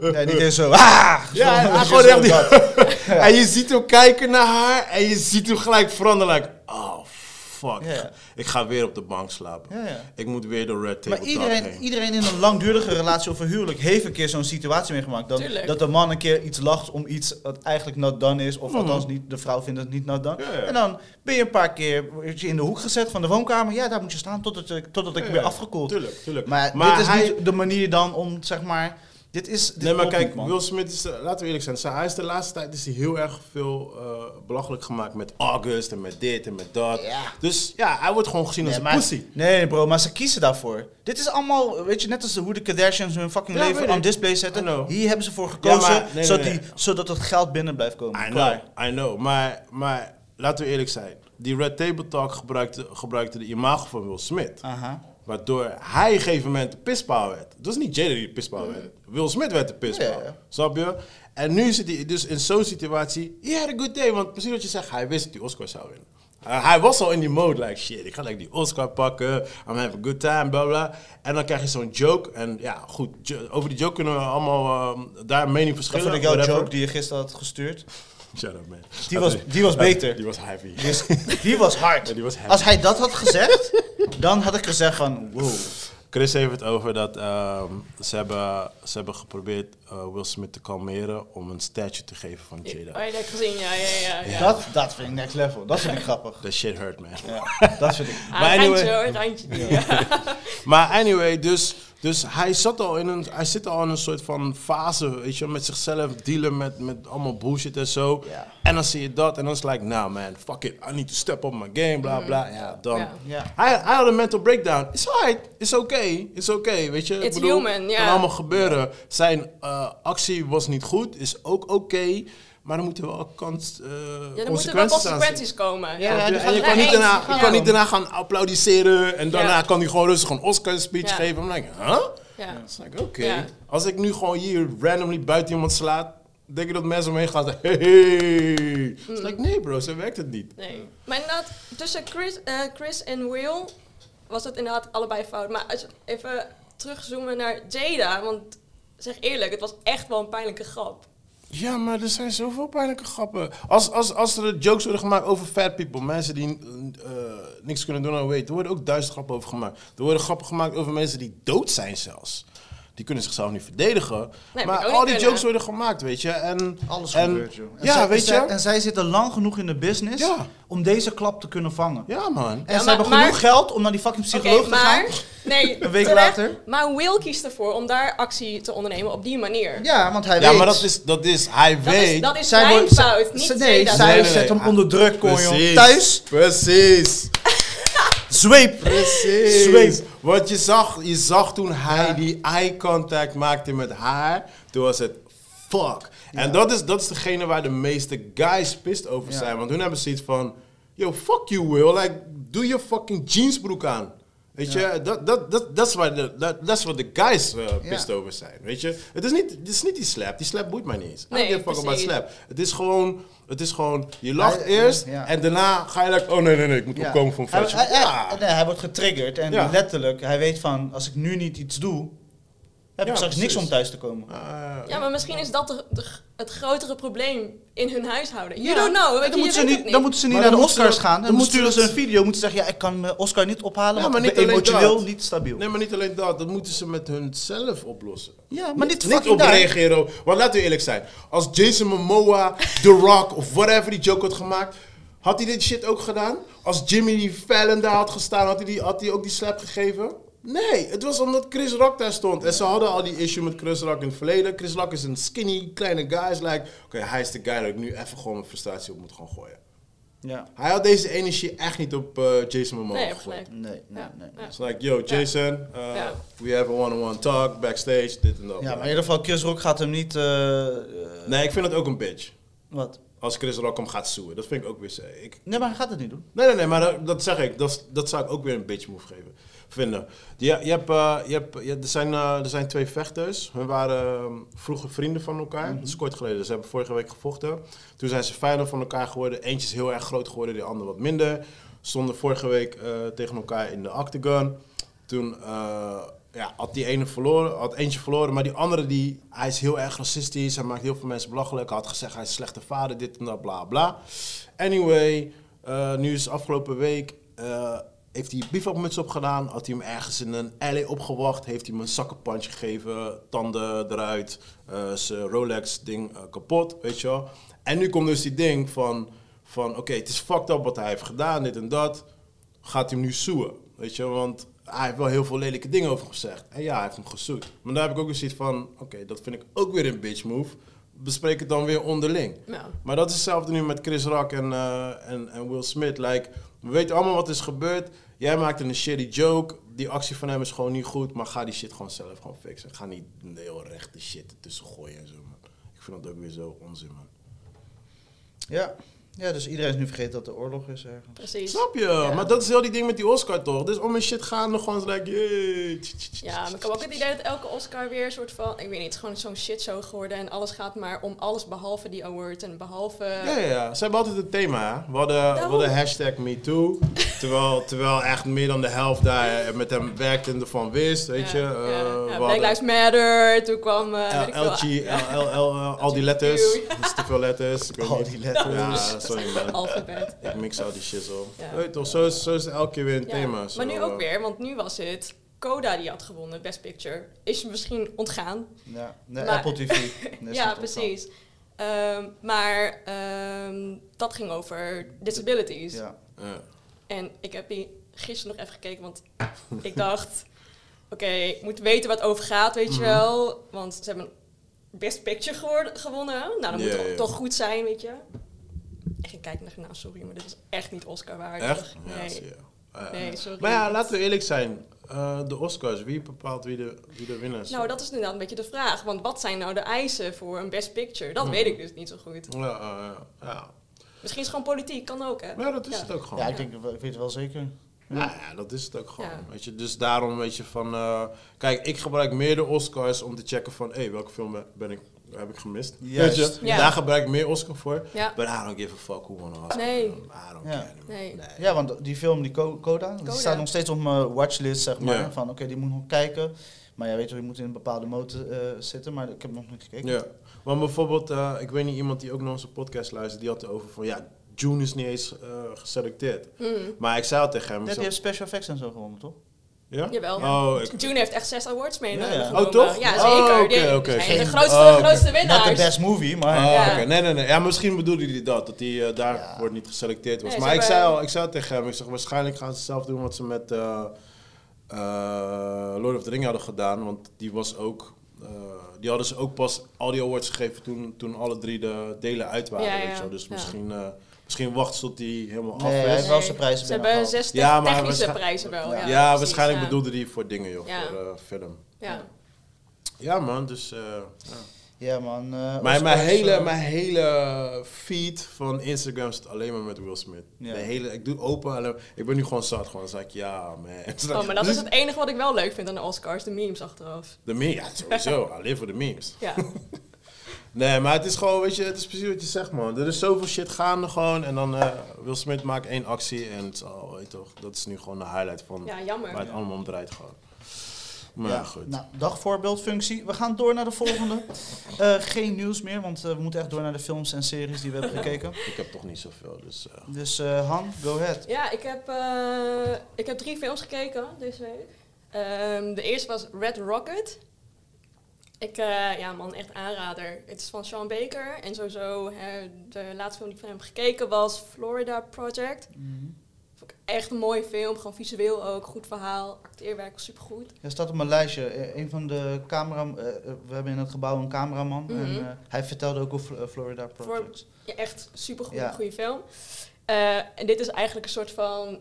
D: Nee, niet eens zo. Ah!
A: Ja, hij- hij gewoon echt die- En je ziet hem kijken naar haar en je ziet hem gelijk veranderen. Like, oh, fuck.
D: Ja, ja.
A: Ik ga weer op de bank slapen.
D: Ja, ja.
A: Ik moet weer door Red Table
D: Maar
A: Talk
D: iedereen,
A: heen.
D: iedereen in een langdurige relatie of een huwelijk heeft een keer zo'n situatie meegemaakt. Dat,
B: Tuurlijk.
D: dat de man een keer iets lacht om iets dat eigenlijk not done is. Of althans, niet, de vrouw vindt het niet not done.
A: Hmm. Ja, ja.
D: En dan ben je een paar keer word je in de hoek gezet van de woonkamer. Ja, daar moet je staan totdat, je- totdat ik
A: Ja,
D: weer
A: ja.
D: afgekoeld.
A: Tuurlijk, tuurlijk.
D: Maar,
A: Maar
D: dit is
A: hij-
D: niet de manier dan om, zeg maar...
E: Dit is... Dit
A: Nee, maar
E: klopt
A: kijk,
E: niet, man.
A: Will Smith is, eh, laten we eerlijk zijn, zijn- hij is de laatste tijd is hij heel erg veel eh, belachelijk gemaakt met August en met dit en met dat.
E: Ja.
A: Dus ja, hij wordt gewoon gezien als
E: Nee,
A: een
E: maar-
A: pussy.
E: Nee, bro, maar ze kiezen daarvoor. Dit is allemaal, weet je, net als hoe de Kardashians hun fucking
A: Ja, weet
E: leven
A: ik.
E: on display
A: I
E: zetten.
A: know.
E: Hier hebben ze voor gekozen,
A: maar- nee, nee,
E: zodat,
A: nee.
E: die- zodat het geld binnen blijft komen.
A: I know,
E: Klaar.
A: I know. Maar, maar laten we eerlijk zijn, die Red Table Talk gebruikte, gebruikte de imago van Will Smith.
E: Aha.
A: Waardoor hij op een gegeven moment de pispaal werd. Het was niet Jada die de pispaal werd. Will Smith werd de pispaal.
E: Ja, ja.
A: Snap je? En nu zit hij dus in zo'n situatie. He had a good day. Want precies wat je zegt, hij wist dat hij Oscar zou winnen. Uh, hij was al in die mode, like shit, ik ga like die Oscar pakken. I'm gonna have a good time, bla bla. En dan krijg je zo'n joke. En ja, goed, jo- over die joke kunnen we allemaal ehm, daar een mening
E: Dat
A: verschillen.
E: vond ik jouw
A: whatever.
E: joke die je gisteren had gestuurd.
A: Shut up, man.
E: Die was, die was beter.
A: Die was heavy.
E: Die is- Die was hard.
A: Ja, die was hard.
E: Als hij dat had gezegd, dan had ik gezegd van, wow.
A: Chris heeft het over dat ehm, ze, hebben, ze hebben geprobeerd eh, Will Smith te kalmeren om een statue te geven van
B: Oh,
A: Jada.
B: je hebt gezien, ja, ja, ja. ja.
E: Dat, dat vind ik next level. Dat vind ik grappig.
A: That shit hurt, man.
E: Ja, dat vind ik.
B: Ah,
A: Maar
B: randje
A: anyway-
B: hoor, randje. Ja.
A: Maar anyway, dus, dus hij, zat al in een, hij zit al in een soort van fase, weet je, met zichzelf dealen met, met allemaal bullshit en zo.
E: Ja.
A: En dan zie je dat en dan is het like, nah man, fuck it, I need to step up my game, bla bla. Ja, dan.
B: Mm. Ja.
E: Ja.
A: Hij, hij had een mental breakdown. It's alright, it's okay, it's okay, weet je.
B: It's human,
A: kan
B: ja.
A: allemaal gebeuren. Zijn eh, actie was niet goed, is ook oké, maar dan moeten wel kans, eh
B: Ja, er moeten
A: consequenties
B: wel
A: aan zitten.
B: consequenties komen.
A: Snap je?
E: die
A: en
E: gaan
A: je
B: er
A: kan, niet
B: eens
A: daarna, je
B: gaan.
A: kan niet daarna gaan applaudisseren en daarna
B: Ja.
A: kan hij gewoon rustig een Oscar-speech
B: Ja.
A: geven. Dan denk ik, huh?
B: Ja.
A: Dan denk ik, oké.
B: Ja.
A: Als ik nu gewoon hier randomly buiten iemand slaat, denk je dat mensen omheen gaan zeggen, hey. Dan denk ik, nee bro, zo werkt het niet.
B: Nee. Hmm. Maar inderdaad, tussen Chris, eh, Chris en Will was het inderdaad allebei fout. Maar als we even terugzoomen naar Jada, want zeg eerlijk, het was echt wel een pijnlijke grap.
A: Ja, maar er zijn zoveel pijnlijke grappen. Als, als, als er jokes worden gemaakt over fat people, mensen die eh, niks kunnen doen aan weight, er worden ook duizend grappen over gemaakt. Er worden grappen gemaakt over mensen die dood zijn zelfs. Die kunnen zichzelf niet verdedigen.
B: Nee,
A: maar
B: moet ik
A: al die
B: ook niet kunnen.
A: jokes worden gemaakt, weet je. En,
E: Alles
A: en,
E: gebeurt, joh. En
A: Ja,
E: zij-
A: weet
E: zij-
A: je.
E: En zij zitten lang genoeg in de business
A: Ja.
E: om deze klap te kunnen vangen.
A: Ja, man.
E: En
B: Ja,
E: ze
B: maar-
E: hebben genoeg
B: maar-
E: geld om naar die fucking
B: Oké,
E: psycholoog te gaan.
B: maar... Nee,
E: Een week
B: terecht.
E: later.
B: Maar Will kiest ervoor om daar actie te ondernemen op die manier.
E: Ja, want hij
A: Ja,
E: weet.
A: maar dat is, dat is hij
B: Dat
A: weet.
B: is, dat is
E: Zij
B: zijn
E: wordt-
B: fout,
E: ze-
B: niet
E: ze- nee,
B: Jada's
E: zij-
B: fout.
E: zet hem onder druk, kon, joh.
A: Precies.
E: Thuis.
A: Precies.
E: Zweep.
A: Precies.
E: Zweep.
A: Want je zag, je zag toen hij die eye contact maakte met haar, toen was het fuck. En dat is, dat is degene waar de meeste guys pissed over
E: Ja.
A: zijn. Want hun hebben zoiets van, yo, fuck you Will, like, doe je fucking jeansbroek aan. Weet je, dat, dat, dat, dat is waar de, dat, dat is wat de guys eh pissed over zijn, weet je. Het is, niet, het is niet die slap, die slap boeit mij niet eens. I
B: Nee,
A: don't give a fuck about
B: precies.
A: slap. Het is gewoon, het is gewoon je lacht
E: Hij-
A: eerst
E: ja.
A: en daarna ga je like, oh nee, nee, nee, ik moet
E: Ja.
A: opkomen voor een
E: hij,
A: flesje.
E: hij-
A: Ja.
E: hij- nee, hij wordt getriggerd en
A: Ja.
E: letterlijk, hij weet van, als ik nu niet iets doe, heb
A: Ja,
E: ik straks
A: precies.
E: niks om thuis te komen.
A: Ah,
B: Ja, maar misschien is dat de, de- het grotere probleem in hun huishouden. You
E: Ja.
B: don't know, weet je,
E: dan,
B: je
E: moeten ze
B: weet
E: niet,
B: het niet.
E: dan moeten ze niet
A: Maar
E: naar de
A: dan moeten
E: Oscars
A: ze-
E: gaan.
A: dan
E: Dan,
A: moeten
E: sturen
A: ze-
E: ze een video. Moeten ze zeggen, ja, ik kan mijn Oscar niet ophalen,
A: Ja,
E: want
A: maar
E: ik
A: niet
E: ben
A: alleen
E: emotioneel
A: dat.
E: niet stabiel.
A: Nee, maar niet alleen dat. Dat moeten ze met hunzelf oplossen.
E: Ja, maar niet
A: Niet
E: fucking
A: op
E: daar.
A: reageren. op- Want laten we eerlijk zijn. Als Jason Momoa, The Rock of whatever die joke had gemaakt... Had hij dit shit ook gedaan? Als Jimmy Fallon daar had gestaan, had hij, die, had hij ook die slap gegeven? Nee, het was omdat Chris Rock daar stond. En ze hadden al die issue met Chris Rock in het verleden. Chris Rock is een skinny, kleine guy. Is like, oké, hij is de guy dat ik nu even gewoon mijn frustratie op moet gaan gooien.
E: Ja.
A: Hij had deze energie echt niet op eh, Jason Momoa
B: Nee,
A: gegooid.
B: gelijk.
E: Nee, nee,
B: Ja.
E: nee.
B: Ja.
A: It's like, yo, Jason, uh,
B: Yeah.
A: we have a one-on-one talk backstage, dit en dat.
E: Ja, maar in ieder geval, Chris Rock gaat hem niet... eh, eh,
A: Nee, ik vind het ook een bitch.
E: Wat? Als
A: Als Chris Rock hem gaat zoeken, dat vind ik ook weer... zee- Ik,
E: Nee, maar hij gaat het niet doen.
A: nee, nee, nee, maar dat, dat zeg ik. Dat, is- dat zou ik ook weer een bitch move geven, vinden. Je, je hebt, eh, je hebt, je- er, zijn, eh, er zijn twee vechters. Hun waren eh, vroeger vrienden van elkaar.
E: Mhm.
A: Dat is kort geleden. Ze hebben vorige week gevochten. Toen zijn ze vijanden van elkaar geworden. Eentje is heel erg groot geworden, de ander wat minder. Stonden vorige week eh, tegen elkaar in de octagon. Toen eh, ja, had die ene verloren, had eentje verloren, maar die andere die, hij is heel erg racistisch, hij maakt heel veel mensen belachelijk, hij had gezegd hij is een slechte vader, dit en dat, bla bla. Anyway, eh, nu is afgelopen week, eh, heeft hij bivakmuts opgedaan, had hij hem ergens in een alley opgewacht, heeft hij hem een zakkenpantje gegeven, tanden eruit, eh, zijn Rolex ding eh, kapot, weet je wel. En nu komt dus die ding van, van oké, het is fucked up wat hij heeft gedaan, dit en dat gaat hij hem nu zoeën. Weet je, want hij heeft wel heel veel lelijke dingen over gezegd. En ja, hij heeft hem gezoet. Maar daar heb ik ook eens iets van, oké, dat vind ik ook weer een bitch move. Bespreek het dan weer onderling.
B: Ja.
A: Maar dat is hetzelfde nu met Chris Rock en, eh, en, en Will Smith. Like, we weten allemaal wat is gebeurd. Jij maakte een shitty joke. Die actie van hem is gewoon niet goed. Maar ga die shit gewoon zelf gewoon fixen. Ga niet de heel rechte shit tussen gooien en zo, man. Ik vind dat ook weer zo onzin, man.
E: Ja. ja, dus iedereen is nu vergeten dat er oorlog is ergens.
B: Precies.
A: Snap je? Maar dat is heel die ding met die Oscar, toch? Dus om een shit gaan, nog gewoon zo like, yeah. tch, tch, tch,
B: Ja, maar ik heb ook het idee dat elke Oscar weer een soort van, ik weet niet, het is gewoon zo'n shitshow geworden en alles gaat maar om alles behalve die award en behalve...
A: Ja, ja, ja, ze hebben altijd een thema. hè. We hadden, we hadden hashtag MeToo. Terwijl, terwijl echt meer dan de helft daar met hem werkte en ervan wist. Weet je?
B: Ja,
A: Eh,
B: ja. Ja,
A: we
B: Black
A: hadden-
B: Lives Matter, toen kwam... eh, weet ik veel,
A: LG, eh, al die letters. Dat is te veel letters. Ik weet
E: Al
A: niet.
E: die letters.
A: Ja, sorry man.
B: alfabet.
A: Ik mix al die shizzle.
B: Ja.
A: Weet toch, zo is, zo is elke keer weer een
B: Ja.
A: thema.
B: Maar nu
A: zo.
B: ook weer, want nu was het Coda die had gewonnen, Best Picture. Is misschien ontgaan.
E: Ja, de
B: Maar-
E: Apple TV. Nee, is
B: ja,
E: niet ontstaan.
B: precies. Ehm, maar ehm, dat ging over disabilities.
E: Ja.
A: Ja.
B: En ik heb die gisteren nog even gekeken, want ik dacht... Oké, ik moet weten wat het over gaat,
A: Mhm.
B: weet je wel. Want ze hebben Best Picture geworden, gewonnen. Nou, dat moet
A: Ja,
B: toch,
A: ja.
B: toch goed zijn, weet je. Ik ging kijken en dacht, nou sorry, maar dit is echt niet Oscar waardig.
A: Echt? Ja,
B: Nee.
A: zie je. Ja.
B: Nee, sorry.
A: Maar ja, laten we eerlijk zijn. Eh, de Oscars, wie bepaalt wie de, wie de winnaars
B: Nou, dat is inderdaad een beetje de vraag. Want wat zijn nou de eisen voor een best picture? Dat
A: Mhm.
B: weet ik dus niet zo goed.
A: zijn? Ja, eh, ja.
B: Misschien is het gewoon politiek, kan ook, hè?
A: Maar ja, dat is het ook gewoon.
E: ja, ik denk, ik weet het wel zeker.
A: Nou ja, dat is het ook gewoon.
B: Ja.
A: Weet je, dus daarom weet je van... eh, kijk, ik gebruik meer de Oscars om te checken van... Hé, welke film ben- ben ik, heb ik gemist?
E: Juist.
A: Weet je,
B: Ja.
A: daar gebruik ik meer Oscar voor.
B: Ja.
A: But I don't give a fuck who won an Oscar.
B: Nee.
A: I don't
E: Ja.
A: care.
B: Nee.
E: Ja, want die film, die Co- Coda, die
B: Coda.
E: staat nog steeds op mijn watchlist, zeg maar.
A: Ja.
E: Van, oké, die moet ik nog kijken. Maar ja, weet je wel, je moet in een bepaalde motor eh, zitten, maar ik heb nog niet gekeken.
A: Ja. Want bijvoorbeeld, eh, ik weet niet, iemand die ook naar onze podcast luistert... die had het over van... Ja, June is niet eens eh, geselecteerd.
B: Mm.
A: Maar ik zei al tegen hem... ik
E: Ja, die
A: zei-
E: heeft special effects en zo gewonnen, toch?
A: Ja?
B: Jawel.
A: Oh, ik-
B: June heeft echt zes awards mee.
E: Ja, ja.
B: genomen.
A: Oh, toch?
B: Ja,
A: Oh,
B: zeker.
A: oké,
B: Die-
A: oké.
B: die zijn
E: Geen-
B: de grootste,
A: oh, oké.
B: grootste
E: Not the
B: winnaars.
E: best movie, maar...
A: Ah,
B: Ja.
A: oké. Nee, nee, nee. Ja, misschien bedoelde hij dat, dat hij eh, daar
E: Ja.
A: wordt niet geselecteerd was.
B: Nee, ze
A: maar ik
B: hebben-
A: zei, al, ik zei al tegen hem, ik zeg, waarschijnlijk gaan ze zelf doen wat ze met eh, eh, Lord of the Ring hadden gedaan. Want die was ook, eh, die hadden ze ook pas al die awards gegeven toen, toen alle drie de delen uit waren.
B: Ja,
A: weet je
B: ja,
A: wel. Dus
B: ja.
A: misschien, eh, misschien wacht tot die helemaal
E: Nee,
A: af
E: hij
A: is.
E: heeft wel zijn prijzen
B: Ze hebben
E: binnengehaald.
B: zes te-
A: Ja, maar
B: technische
A: waarschijn-
B: prijzen wel. Ja,
A: Ja,
B: precies,
A: waarschijnlijk
B: ja.
A: bedoelde die voor dingen, joh,
B: Ja.
A: voor eh, film.
B: Ja.
A: Ja, man, dus... eh, ja.
E: Ja, man. eh,
A: Mijn, mijn,
E: Oscars,
A: hele,
E: eh,
A: mijn hele eh, feed van Instagram zit alleen maar met Will Smith.
E: Ja.
A: De hele, ik doe open, alleen- ik ben nu gewoon zat. Gewoon zeg ik, ja man.
B: Oh, maar dat is het enige wat ik wel leuk vind aan de Oscars, de memes achteraf.
A: De memes, ja sowieso. alleen voor de memes.
B: Ja,
A: Nee, maar het is gewoon, weet je, het is precies wat je zegt man. Er is zoveel shit gaande gewoon. En dan eh Will Smith maakt één actie en het is al, weet je toch. Dat is nu gewoon de highlight van
B: ja
A: waar
B: jammer.
A: het allemaal om draait gewoon. Maar
E: ja,
A: ja, goed.
E: Nou, dagvoorbeeldfunctie. We gaan door naar de volgende. Eh, geen nieuws meer, want eh, we moeten echt door naar de films en series die we hebben gekeken.
A: Ik heb toch niet zoveel, dus... eh,
E: Dus eh, Han, go ahead.
B: Ja, ik heb, eh, ik heb drie films gekeken deze week. Ehm, de eerste was Red Rocket. Ik, eh, ja man, echt aanrader. Het is van Sean Baker. En sowieso, hè, de laatste film die ik van hem gekeken was Florida Project. Vond ik echt een mooie film. Gewoon visueel ook. Goed verhaal. Acteerwerk supergoed.
E: Hij staat op mijn lijstje. Eh, Een van de camera... eh, eh, we hebben in het gebouw een cameraman. En
B: Mhm.
E: eh, hij vertelde ook over eh, Florida Project.
B: Ja, echt supergoed.
E: Ja.
B: goede film. Eh, en dit is eigenlijk een soort van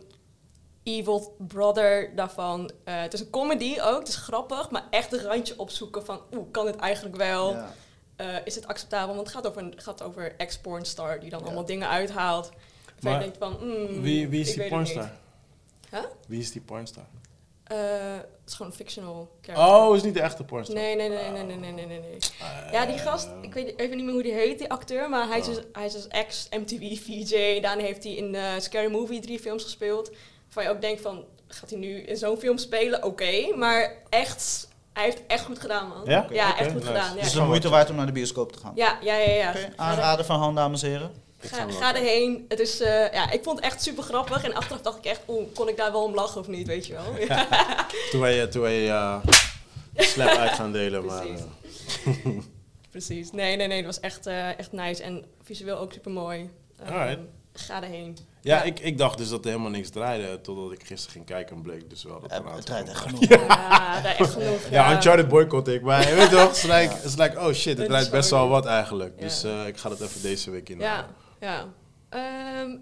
B: evil brother daarvan. Eh, het is een comedy ook. Het is grappig. Maar echt een randje opzoeken van... Oeh, kan dit eigenlijk wel?
E: Ja.
B: Eh, is het acceptabel? Want het gaat over, een- gaat over ex-pornstar die dan
E: Ja.
B: allemaal dingen uithaalt. Waar je
A: Maar
B: denkt van... mm, ik weet het niet. Huh?
A: Wie is die pornstar?
B: Eh, het is gewoon een fictional character.
A: Oh, is niet de echte pornstar.
B: Nee, nee, nee, nee, nee, nee, nee, nee, nee. Ja, die gast, ik weet even niet meer hoe die heet, die acteur, maar hij is dus, hij is dus ex-MTV-VJ. Daarna heeft hij in eh, Scary Movie drie films gespeeld. Waarvan je ook denkt van, gaat hij nu in zo'n film spelen? Oké, maar echt, hij heeft echt goed gedaan, man.
A: Ja?
B: Ja,
A: Oké,
B: echt goed
A: nice.
B: gedaan. Ja,
D: eh,
E: Dus de moeite waard om naar de bioscoop te gaan.
B: ja, ja, ja. ja.
E: Oké,
B: Ga, er-
E: aanraden van Han, dames en heren.
B: ga, ga erheen. Het is, eh, ja, ik vond het echt super grappig. En achteraf dacht ik echt, oeh, kon ik daar wel om lachen of niet, weet je wel. Ja,
A: Toen wij, toen wij eh, slap uit gaan delen, maar...
B: Precies.
A: eh,
B: precies. Nee, nee, nee, het was echt, eh, echt nice. En visueel ook super mooi.
A: Alright.
B: ga erheen.
A: Ja, Ik, ik dacht dus dat er helemaal niks draaide. Totdat ik gisteren ging kijken en bleek dus wel dat
D: Eh,
A: er een
E: Het
A: aantal-
E: draait echt genoeg.
B: Ja, daar echt genoeg.
A: Ja, Uncharted boycott ik. Maar je weet toch, het is like, het is like, oh shit, het
B: is
A: draait best
B: wel-
A: wel wat eigenlijk. Dus
B: Ja.
A: eh, ik ga dat even deze week in. eh,
B: Ja, ja. Ehm,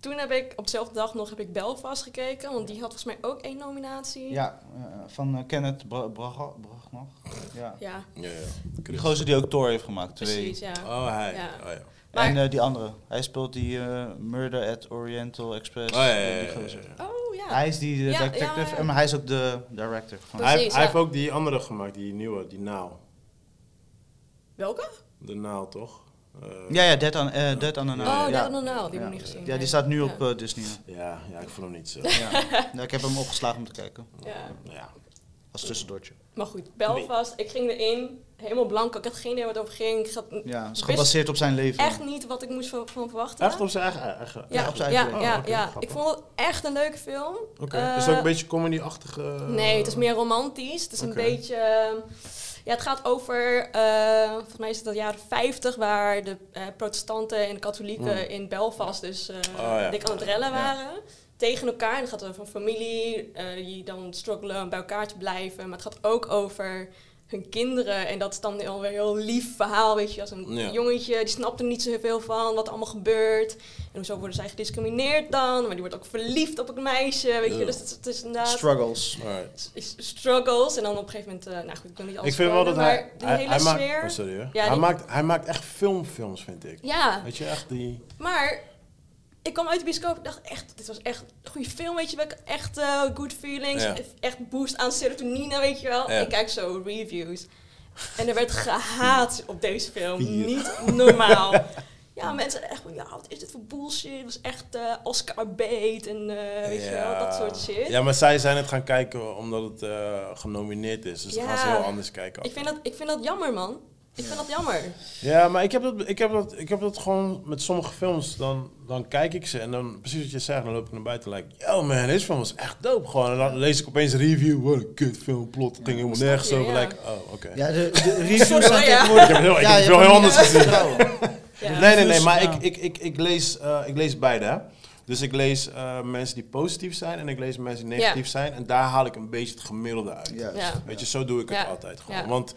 B: toen heb ik op dezelfde dag nog heb ik Belfast gekeken, want die had volgens mij ook één nominatie.
D: Ja, eh, van eh, Kenneth Bra- Braga. Bragnog. Ja.
B: Ja,
A: Ja, ja.
D: Die gozer die ook Thor heeft gemaakt. Twee.
B: precies, ja.
A: Oh, hij.
B: Ja.
A: Oh, ja.
B: Maar-
D: En eh, die andere. Hij speelt die eh, Murder at Oriental Express. eh,
A: Oh, ja, ja,
D: Die
A: ja, ja,
D: gozer.
A: ja.
B: Oh ja.
D: Hij is die eh,
B: Ja,
D: detective,
B: ja, ja.
D: en maar hij is ook de director. Van.
A: Hij, heeft-
B: Precies,
A: hij
B: ja.
A: heeft ook die andere gemaakt, die nieuwe, die naal.
B: Welke?
A: De naal, toch? Eh,
D: Ja, ja, Dead on, eh Dead on an Island.
B: oh,
D: ja.
B: Dead on the Nile, die heb ik niet gezien.
D: Ja, die
B: nee.
D: staat nu
B: Ja.
D: op eh, Disney.
A: ja, ja, ik vond hem niet zo.
D: Ja. Ja, ik heb hem opgeslagen om te kijken.
B: Ja.
A: ja.
D: Als tussendoortje.
B: Maar goed, Belfast, ik ging erin, helemaal blanco. Ik had geen idee waar het over ging. Ik had
D: Ja, het is
B: wist
D: gebaseerd op zijn leven.
B: echt niet wat ik moest van, van verwachten.
A: Echt op zijn eigen. eigen
B: Ja,
D: Ja, op zijn
B: ja,
D: eigen
B: ja,
A: Oh, oké,
B: ja.
A: grappig.
B: Ik vond het echt een leuke film.
A: Oké.
B: Eh,
A: is het ook een beetje comedy-achtige. eh,
B: Nee, het is meer romantisch. Het is
A: Oké.
B: een beetje. ehm, Ja, het gaat over. eh, volgens mij is het de jaren 50, waar de eh, protestanten en de katholieken
A: Mm.
B: in Belfast dus eh
A: Oh, ja.
B: dik aan het rellen waren. Tegen elkaar. En het gaat over een familie eh, die dan struggelen om bij elkaar te blijven. Maar het gaat ook over hun kinderen. En dat is dan alweer een heel lief verhaal. Weet je, als een
A: Ja.
B: jongetje die snapt er niet zoveel van wat er allemaal gebeurt. En hoezo worden zij gediscrimineerd dan? Maar die wordt ook verliefd op het meisje. Weet je,
A: Ugh.
B: dus het, het is inderdaad
D: Struggles.
A: Alright.
B: s- struggles en dan op een gegeven moment, eh, nou goed, ik wil niet alles
A: Ik vind wel dat
B: spoilen,
A: hij.
B: maar die
A: Hij,
B: hele
A: hij maakt,
B: sfeer,
A: oh, sorry, hoor.
B: Ja,
A: hij,
B: die-
A: maakt, hij maakt echt filmfilms, vind ik.
B: ja,
A: Weet je, echt die.
B: maar ik kwam uit de bioscoop en dacht echt, dit was echt een goede film, weet je wel, Ik had echt eh, good feelings,
A: Ja.
B: echt boost aan serotonine, weet je wel.
A: Ja.
B: Ik kijk zo reviews en er werd gehaat op deze film,
A: Vier.
B: niet normaal. Ja, mensen echt van, ja, wat is dit voor bullshit? Het was echt eh, Oscar bait en eh, weet je wel, dat soort shit.
A: Ja, maar zij zijn het gaan kijken omdat het eh, genomineerd is. Dus dan
B: Ja.
A: gaan ze heel anders kijken.
B: Ik, vind dat, ik vind dat jammer, man. Ik vind dat jammer.
A: Ja, maar ik heb, dat, ik, heb dat, ik heb dat gewoon met sommige films. Dan, dan kijk ik ze en dan, precies wat je zegt, dan loop ik naar buiten en like, yo man, deze film was echt dope. Gewoon. En dan lees ik opeens een review, wat een kut film, plot, het ging helemaal
B: Snap
A: nergens
B: je,
A: over.
B: ja.
A: Like, oh, oké.
D: Ja, de, de reviews
B: Sorry,
D: zijn
B: ja.
D: tegenwoordig...
A: Ik heb heel, ik
D: Ja,
A: heb
D: je
A: veel
D: hebt
A: heel
D: hem
A: anders
D: niet
A: gezien.
D: vertrouwen.
B: Ja.
A: Nee, nee, nee, maar
D: dus, Ja.
A: ik, ik, ik, ik, lees, eh, ik lees beide. hè. Dus ik lees eh, mensen die positief zijn en ik lees mensen die
B: Ja.
A: negatief zijn. En daar haal ik een beetje het gemiddelde uit.
D: Juist.
B: Ja.
A: Weet je, zo doe ik het
B: Ja.
A: altijd gewoon.
B: Ja.
A: Want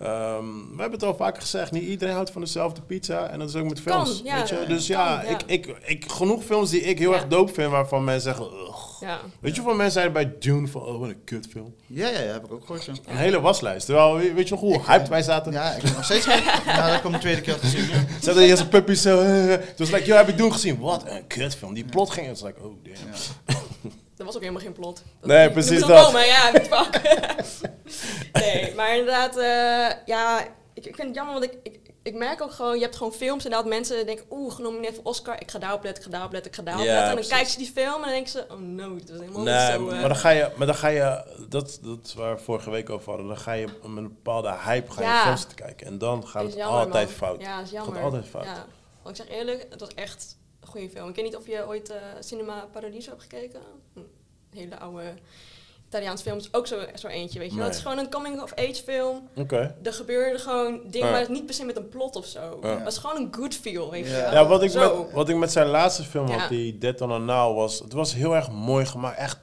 A: ehm, we hebben het al vaker gezegd, niet iedereen houdt van dezelfde pizza. En dat is ook met films.
B: Kan, ja.
A: weet je? Dus
B: Kan,
A: ja,
B: ja.
A: Ik, ik, ik, genoeg films die ik heel
B: Ja.
A: erg dope vind, waarvan mensen zeggen... "Ugh."
B: Ja.
A: Weet je hoeveel mensen zeiden bij Dune van, oh wat een kutfilm.
D: Ja, ja, ja, heb ik ook gehoord. ja.
A: Een hele waslijst. Terwijl, weet weet je nog hoe hyped wij zaten?
D: Ja, ik ben nog steeds... ja, dat kwam de tweede keer gezien. Ja.
A: Ze hadden eerst een puppy zo. eh, eh. Toen was ik, joh, heb ik doen gezien. Wat een kutfilm. Die plot ging. Het was like, oh damn.
B: Dat was ook helemaal geen plot. Dat
A: Nee,
B: je- je
A: precies dat.
B: moet wel Komen, ja, fuck. nee, maar inderdaad, eh, ja, ik, ik vind het jammer, want ik, ik, ik merk ook gewoon, je hebt gewoon films en dat mensen denken, oeh, genomineerd voor Oscar, ik ga daarop letten, ik ga daarop letten, ik ga daarop
A: Ja,
B: letten. En dan
A: precies.
B: kijken ze die film en dan denken ze, oh no, dat was helemaal
A: Nee,
B: niet zo... eh,
A: maar dan ga je, maar dan ga je dat, dat is waar we vorige week over hadden, dan ga je met een bepaalde hype gaan
B: Ja.
A: films te kijken. En dan gaat
B: is
A: het
B: jammer,
A: altijd
B: man.
A: fout.
B: Ja, is
A: Het
B: jammer.
A: gaat altijd fout.
B: Ja. Want ik zeg eerlijk, het was echt een goede film. Ik weet niet of je ooit eh, Cinema Paradiso hebt gekeken. Hm, hele oude Italiaanse film is ook zo, zo eentje, weet je wel.
A: Nee.
B: Het is gewoon een coming-of-age film.
A: Oké.
B: Er gebeurde gewoon dingen,
A: Ja.
B: maar het niet per se met een plot of zo.
A: Ja.
B: Het was gewoon een good feel, weet je
D: Ja.
B: wel.
A: Ja, wat ik,
B: Zo.
A: met, wat ik met zijn laatste film
B: Ja.
A: had, die Dead on a Now, was... Het was heel erg mooi gemaakt. Echt,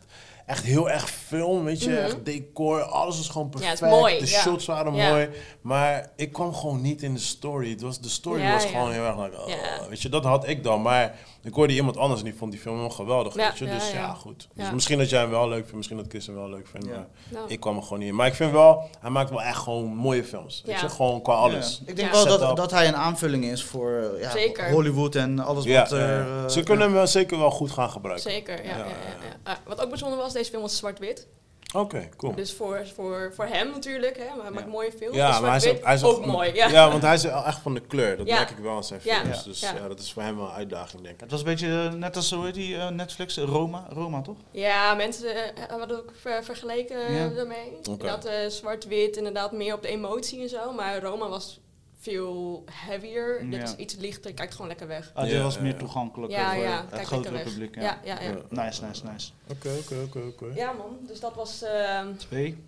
A: echt heel erg film, weet je. Echt decor, alles was gewoon
B: Mhm. Ja, het
A: perfect.
B: is mooi,
A: de
B: ja.
A: shots waren
B: Ja.
A: mooi. Maar ik kwam gewoon niet in de story. Het was, de story
B: Ja,
A: was
B: ja.
A: gewoon heel erg... Like, oh,
B: Ja.
A: Weet je, dat had ik dan. Maar ik hoorde iemand anders en die vond die film wel geweldig.
B: Ja,
A: weet je,
B: ja,
A: dus ja,
B: ja.
A: goed. Dus
B: Ja.
A: misschien dat jij hem wel leuk vindt. Misschien dat Chris hem wel leuk vindt.
D: Ja.
A: Maar
B: Nou.
A: ik kwam er gewoon niet in. Maar ik vind wel... Hij maakt wel echt gewoon mooie films. Weet
B: Ja.
A: je, gewoon qua alles.
D: Ja. Ik denk
B: Ja.
D: wel
A: Setup.
D: dat, dat hij een aanvulling is voor eh, ja,
B: Zeker.
D: Hollywood en alles
A: Ja,
D: wat er...
A: ja.
D: eh,
A: ze kunnen hem wel zeker wel goed gaan gebruiken.
B: Zeker, ja. ja,
A: Ja,
B: ja,
A: ja,
B: ja. Ah, wat ook bijzonder was, deze film was zwart-wit.
A: Oké, cool.
B: Dus voor, voor, voor hem natuurlijk, hè, maar hij maakt mooie films.
A: Ja,
B: dus
A: maar hij is, ook,
B: zwart-wit
A: hij is ook,
B: mooi.
A: Ja.
B: Ja.
A: want hij is wel echt van de kleur. Dat
B: Ja.
A: merk ik wel aan zijn
B: Ja.
A: films.
B: Ja.
A: Dus ja.
B: Ja.
A: dat is voor hem wel een uitdaging, denk ik.
D: Het was een beetje eh, net als, hoe heet die, eh, Netflix, Roma, Roma toch?
B: Ja, mensen eh, hadden ook ver- vergeleken eh,
D: Ja.
B: daarmee.
A: Oké.
B: Dat eh, zwart-wit inderdaad meer op de emotie en zo. Maar Roma was veel heavier. Dit
D: Ja.
B: is iets lichter. Je kijkt gewoon lekker weg.
D: Ah,
A: Ja,
D: dit was
A: ja,
D: meer
A: ja.
D: toegankelijk
B: ja,
D: voor
B: ja.
D: het
B: Kijk lekker
D: grotere
B: weg.
D: publiek. Ja.
B: ja. Ja, ja.
D: Nice, nice, nice.
A: Oké, oké, oké, oké.
B: Ja, man. Dus dat was eh,
D: Twee.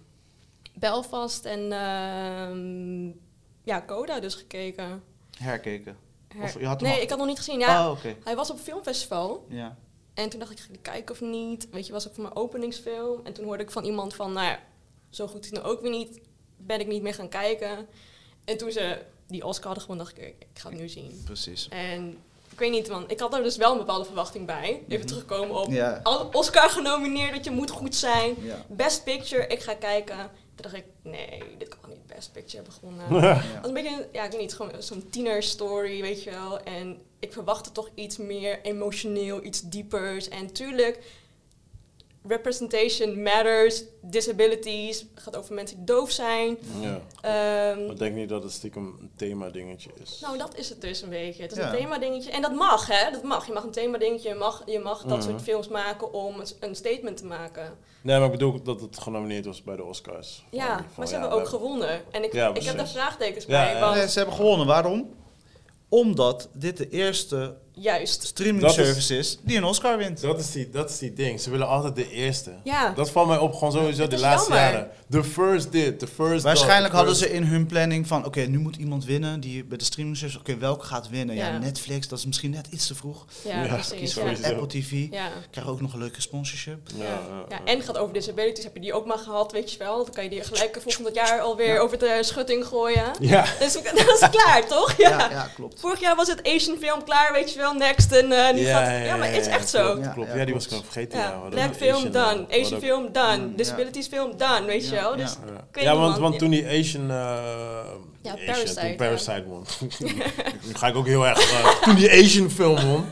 B: Belfast en ehm, ja, ehm, Coda dus gekeken.
D: Herkeken.
B: her-
F: Of je had hem
B: nee,
F: al-
B: ik had nog niet gezien. Ja,
F: Oh, oké.
B: hij was op een filmfestival.
F: Ja.
B: En toen dacht ik, ga ik die kijken of niet? Weet je, was ook voor mijn openingsfilm. En toen hoorde ik van iemand van, nou ja, zo goed is het nou ook weer niet. Ben ik niet meer gaan kijken. En toen ze die Oscar hadden gewonnen, dacht ik, ik ga het nu zien.
F: Precies.
B: En ik weet niet, man. Ik had er dus wel een bepaalde verwachting bij. Even
F: Mhm.
B: terugkomen op
D: Ja.
B: alle Oscar genomineerd, dat je moet goed zijn.
D: Ja.
B: Best Picture, ik ga kijken. Toen dacht ik, nee, dit kan niet Best Picture hebben gewonnen. Het was een beetje, een- ja, ik weet niet, gewoon zo'n tienerstory, weet je wel. En ik verwachtte toch iets meer emotioneel, iets diepers. En tuurlijk, representation matters, disabilities. Het gaat over mensen die doof zijn.
A: Ja.
B: Ehm,
A: Maar denk niet dat het stiekem een thema dingetje is.
B: nou, dat is het dus een beetje. Het is
D: Ja.
B: een themadingetje. En dat mag, hè? Dat mag. Je mag een themadingetje. Je mag, je mag dat soort films maken om een s- een statement te maken.
A: Nee, maar ik bedoel dat het genomineerd was bij de Oscars.
B: Ja,
A: Van- van,
B: maar ze
A: ja,
B: hebben ook
A: we
B: gewonnen. En ik,
A: Ja,
B: ik heb daar
A: precies.
B: vraagtekens
A: Ja,
B: bij.
A: ja.
B: Want
D: Nee, ze hebben gewonnen. Waarom? Omdat dit de eerste
B: juist.
D: streaming
A: Dat is-
D: service is die een Oscar wint.
A: Dus Dat is, die, dat is die ding. Ze willen altijd de eerste.
B: Ja.
A: Dat valt mij op, gewoon sowieso
B: Het
A: de
B: is
A: laatste
B: jammer.
A: jaren. The first dit, the first dat,
D: Waarschijnlijk
A: the
D: hadden
A: first-
D: ze in hun planning van, oké, nu moet iemand winnen die bij de streaming service, oké, welke gaat winnen? Ja.
B: Ja.
D: Netflix, dat is misschien net iets te vroeg.
B: Ja,
A: Ja,
B: precies.
A: kies
B: Ja.
A: voor jezelf.
D: Apple TV,
B: Ja.
D: krijgen ook nog een leuke sponsorship.
A: Ja,
B: Ja.
A: ja,
B: Ja, en gaat over disabilities. Heb je die ook maar gehad, weet je wel? Dan kan je die gelijk volgend jaar alweer over de schutting gooien.
A: Ja.
B: Dus dat is klaar, toch? Ja.
D: Ja, ja, klopt.
B: Vorig jaar was het Asian film klaar, weet je wel, next. En eh, nu gaat het- Ja, maar het is echt zo.
A: Klopt, klopt.
D: Ja,
A: Ja, die
D: klopt.
A: was ik nog vergeten.
B: Ja,
A: ja, maar dat
B: black
A: is
B: film
A: Asian,
B: done,
A: eh,
B: Asian
A: wat
B: film done,
D: Mm,
B: disabilities film done, weet je
D: Ja,
B: wel.
D: ja.
B: Dus
D: Ja.
A: ook-
B: weet
A: Ja,
B: niet,
A: want,
B: man.
A: want
B: Ja.
A: toen die Asian... eh,
B: Ja,
A: Asian,
B: Parasite,
A: Toen
B: ja.
A: Parasite won. Dan ga ik ook heel erg... eh, toen die Asian film won.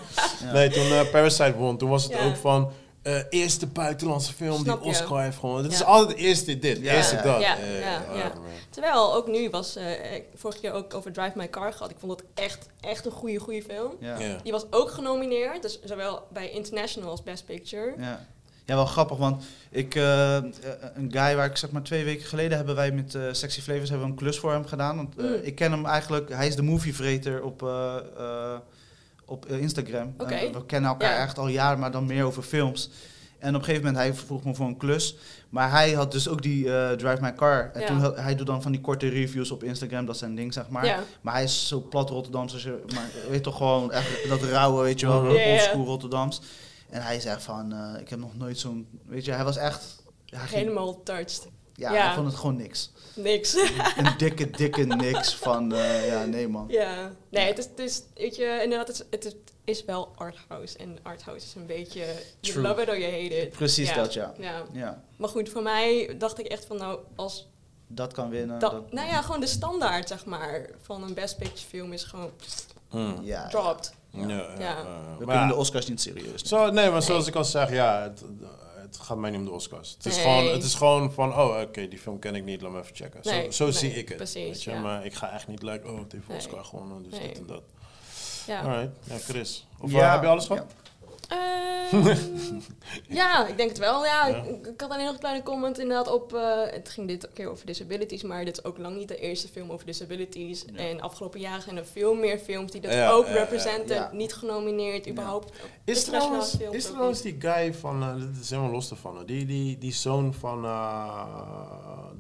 A: Nee, toen eh, Parasite won, toen was het
B: Ja.
A: ook van... eh, eerste buitenlandse film
B: Snap je.
A: die Oscar heeft gewonnen. Het is
B: Ja.
A: altijd eerste dit,
D: Ja,
A: eerste
D: ja,
A: dat.
B: ja,
A: Eh,
B: ja,
A: oh,
B: ja.
A: man.
B: Terwijl ook nu was, eh, ik vorig jaar ook over Drive My Car gehad. Ik vond dat echt, echt een goede, goede film.
D: Ja. Ja.
A: Ja.
B: Die was ook genomineerd, dus zowel bij International als Best Picture.
D: Ja. wel grappig, want ik, eh, eh, een guy waar ik zeg maar twee weken geleden hebben wij met eh, Sexy Flavors hebben we een klus voor hem gedaan. Want eh,
B: Mm.
D: ik ken hem eigenlijk, hij is de movievreter op, eh, eh, op eh, Instagram.
B: Oké.
D: Eh, we kennen elkaar
B: Ja.
D: echt al jaren, maar dan meer over films. En op een gegeven moment, hij vroeg me voor een klus. Maar hij had dus ook die eh, Drive My Car. En
B: Ja.
D: toen, had- hij doet dan van die korte reviews op Instagram, dat zijn ding zeg maar.
B: Ja.
D: Maar hij is zo plat Rotterdams. als je, maar weet je toch gewoon echt dat rauwe, weet je wel,
B: Ja, ja.
D: oldschool Rotterdams. En hij zegt van, eh, ik heb nog nooit zo'n, weet je, hij was echt, hij ging-
B: Helemaal touched.
D: ja,
B: ja.
D: hij vond het gewoon niks.
B: Niks.
D: Een dikke, dikke niks van, eh, ja, nee man.
B: ja. Nee, het is, het is, weet je, inderdaad, het is, het is- is wel arthouse. En arthouse is een beetje, you
D: True.
B: love it or you hate it.
D: Precies dat, ja.
B: ja.
D: Ja,
B: Maar goed, voor mij dacht ik echt van, nou, als
D: dat kan winnen.
B: Da-
D: dat-
B: nou ja, gewoon de standaard, zeg maar, van een Best Picture film is gewoon
A: Hmm.
D: ja.
B: dropped.
A: Ja, ja,
B: Ja.
A: ja.
D: We
A: eh, Maar-
D: kunnen de Oscars niet serieus.
A: Zo, nee, maar zoals ik al zeg, ja, het, het gaat mij niet om de Oscars. Het is,
B: Nee.
A: gewoon, het is gewoon van, oh, oké, die film ken ik niet, laat me even checken.
B: Nee,
A: zo zo
B: nee,
A: zie ik het.
B: precies,
A: weet je?
B: ja.
A: Maar ik ga echt niet like, oh, het heeft
B: Nee.
A: Oscar gewonnen, dus
B: Nee.
A: dit en dat.
B: Ja.
A: Alright, ja, Chris. Of
D: Ja.
A: eh, heb je alles
D: Ja.
A: gehad?
B: Ehm, ja, ik denk het wel. Ja,
A: Ja.
B: Ik, ik had alleen nog een kleine comment inderdaad op... eh, het ging dit keer over disabilities, maar dit is ook lang niet de eerste film over disabilities. En afgelopen jaren zijn er veel meer films die dat
A: Ja,
B: ook
A: ja, ja,
B: representen.
D: ja.
B: Niet genomineerd, überhaupt.
A: Is
B: Internationale
A: trouwens,
B: films
A: is
B: ook
A: trouwens die guy van, eh, dit is helemaal los ervan, eh, die, die, die zoon van eh,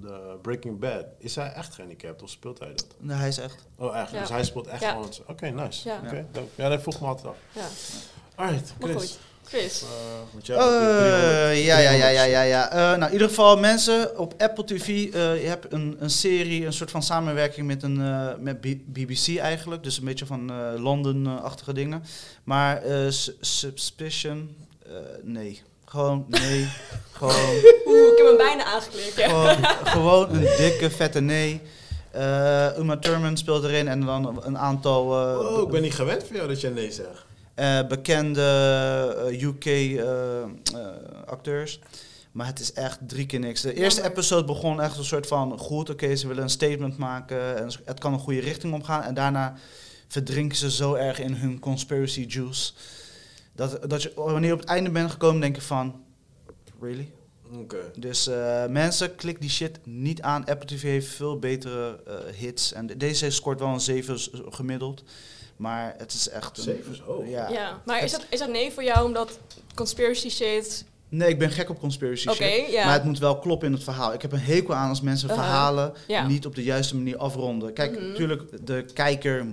A: de Breaking Bad, is hij echt gehandicapt of speelt hij dat?
D: Nee, hij is echt.
A: Oh, echt?
B: Ja.
A: Dus hij speelt echt
B: Ja.
A: gewoon... Oké, nice.
B: Ja.
A: Ja. ja, dat vroeg me altijd af.
B: Ja.
A: Alright,
B: Maar
A: Chris.
B: goed, Chris.
A: Eh, met
D: Eh,
A: jou natuurlijk 300.
D: ja, ja, ja,
A: 300.
D: ja, ja. ja. Eh, nou, in ieder geval mensen op Apple TV. eh, je hebt een, een serie, een soort van samenwerking met, een, eh, met B- BBC eigenlijk. Dus een beetje van eh Londen-achtige dingen. Maar eh, s- Suspicion, eh, nee. Gewoon, nee. gewoon,
B: Oeh, ik heb hem bijna aangeklikt. Ja.
D: gewoon, gewoon een dikke, vette nee. Eh, Uma Thurman speelt erin en dan een aantal eh,
A: Oh, ik ben niet gewend van jou dat jij nee zegt.
D: eh, bekende eh, UK-acteurs. eh, maar het is echt drie keer niks. De eerste
B: Jammer.
D: episode begon echt een soort van... goed, oké, ze willen een statement maken... en het kan een goede richting opgaan. En daarna verdrinken ze zo erg in hun conspiracy juice... dat, dat je wanneer je op het einde bent gekomen... denk je van... really?
A: Oké.
D: Dus eh, mensen, klik die shit niet aan. Apple TV heeft veel betere eh, hits. En de- deze scoort wel een 7 gemiddeld. Maar het is echt... een-
A: Zeven is hoog.
D: Ja.
B: Ja. Maar is dat, is dat nee voor jou omdat conspiracy shit
D: Nee, ik ben gek op conspiracy
B: Oké,
D: shit.
B: ja.
D: Maar het moet wel kloppen in het verhaal. Ik heb een hekel aan als mensen
B: Uh-huh.
D: verhalen
B: Ja.
D: niet op de juiste manier afronden. Kijk,
B: Mhm.
D: natuurlijk, de kijker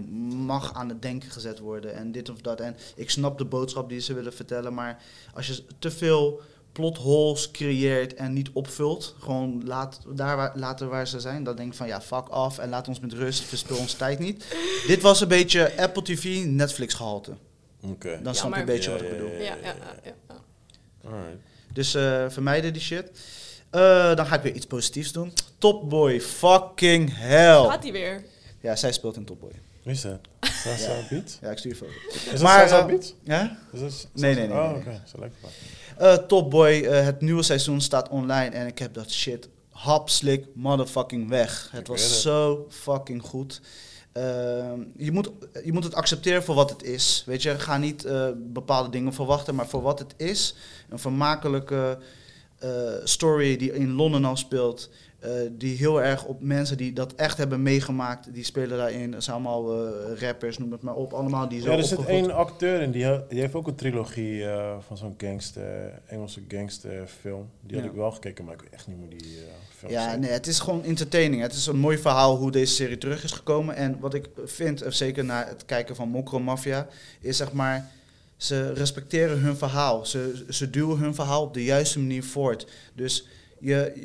D: mag aan het denken gezet worden en dit of dat. En ik snap de boodschap die ze willen vertellen, maar als je te veel plot holes creëert en niet opvult, gewoon laat, daar waar, laten waar ze zijn, dan denk ik van ja, fuck off en laat ons met rust, verspil ons tijd niet. Dit was een beetje Apple TV, Netflix gehalte.
A: Oké.
D: Dan snap je
B: maar-
D: een beetje
A: Ja,
D: wat ik
A: ja,
D: bedoel.
B: Ja, ja, ja, ja, ja.
A: Alright.
D: Dus eh, vermijden die shit. Eh, dan ga ik weer iets positiefs doen. Top Boy, fucking hell.
B: Gaat die weer?
D: Ja, zij speelt in Top Boy.
A: Wie is dat? Sasa Beat?
D: Ja, ik stuur je foto.
A: Is dat
D: Maar,
A: Sasa
D: eh,
A: Beat?
D: Ja?
A: Is dat- is dat-
D: nee, nee, nee,
A: Oh,
D: nee.
A: oké. Zo lekker.
D: Eh, Top Boy, eh, het nieuwe seizoen staat online en ik heb dat shit hap, slik, motherfucking weg. Het
A: Ik weet het.
D: was zo fucking goed. Ehm, je, moet, je moet het accepteren voor wat het is. Weet je, ga niet eh, bepaalde dingen verwachten, maar voor wat het is. Een vermakelijke eh, story die in Londen al speelt. eh, die heel erg op mensen die dat echt hebben meegemaakt, die spelen daarin. Dat zijn allemaal eh, rappers, noem het maar op. Allemaal die zo
A: Ja, er zit
D: opgevoed-
A: één acteur in, die, ha- die heeft ook een trilogie eh, van zo'n gangster, Engelse gangsterfilm. Die had
D: Ja.
A: ik wel gekeken, maar ik weet echt niet hoe die eh film
D: Ja,
A: zit.
D: nee, het is gewoon entertaining. Het is een mooi verhaal hoe deze serie terug is gekomen. En wat ik vind, eh, zeker na het kijken van Mokro Mafia, is zeg maar... Ze respecteren hun verhaal. Ze, ze duwen hun verhaal op de juiste manier voort. Dus je, eh,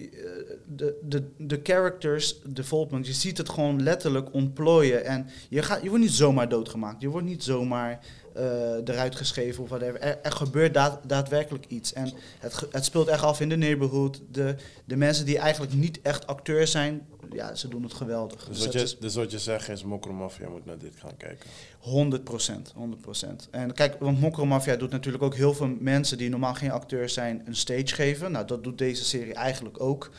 D: de, de, de characters development, je ziet het gewoon letterlijk ontplooien. En je, gaat, je wordt niet zomaar doodgemaakt. Je wordt niet zomaar eh, eruit geschreven of whatever. Er, er gebeurt daad- daadwerkelijk iets. En het, ge- het speelt echt af in de neighborhood. De, de mensen die eigenlijk niet echt acteur zijn, ja, ze doen het geweldig. Dus
A: Dus wat,
D: het is-
A: je, dus wat je zegt is, Mokro Mafia moet naar dit gaan kijken.
D: 100 procent, 100 En kijk, want Mokro Mafia doet natuurlijk ook heel veel mensen die normaal geen acteurs zijn een stage geven. Nou, dat doet deze serie eigenlijk ook.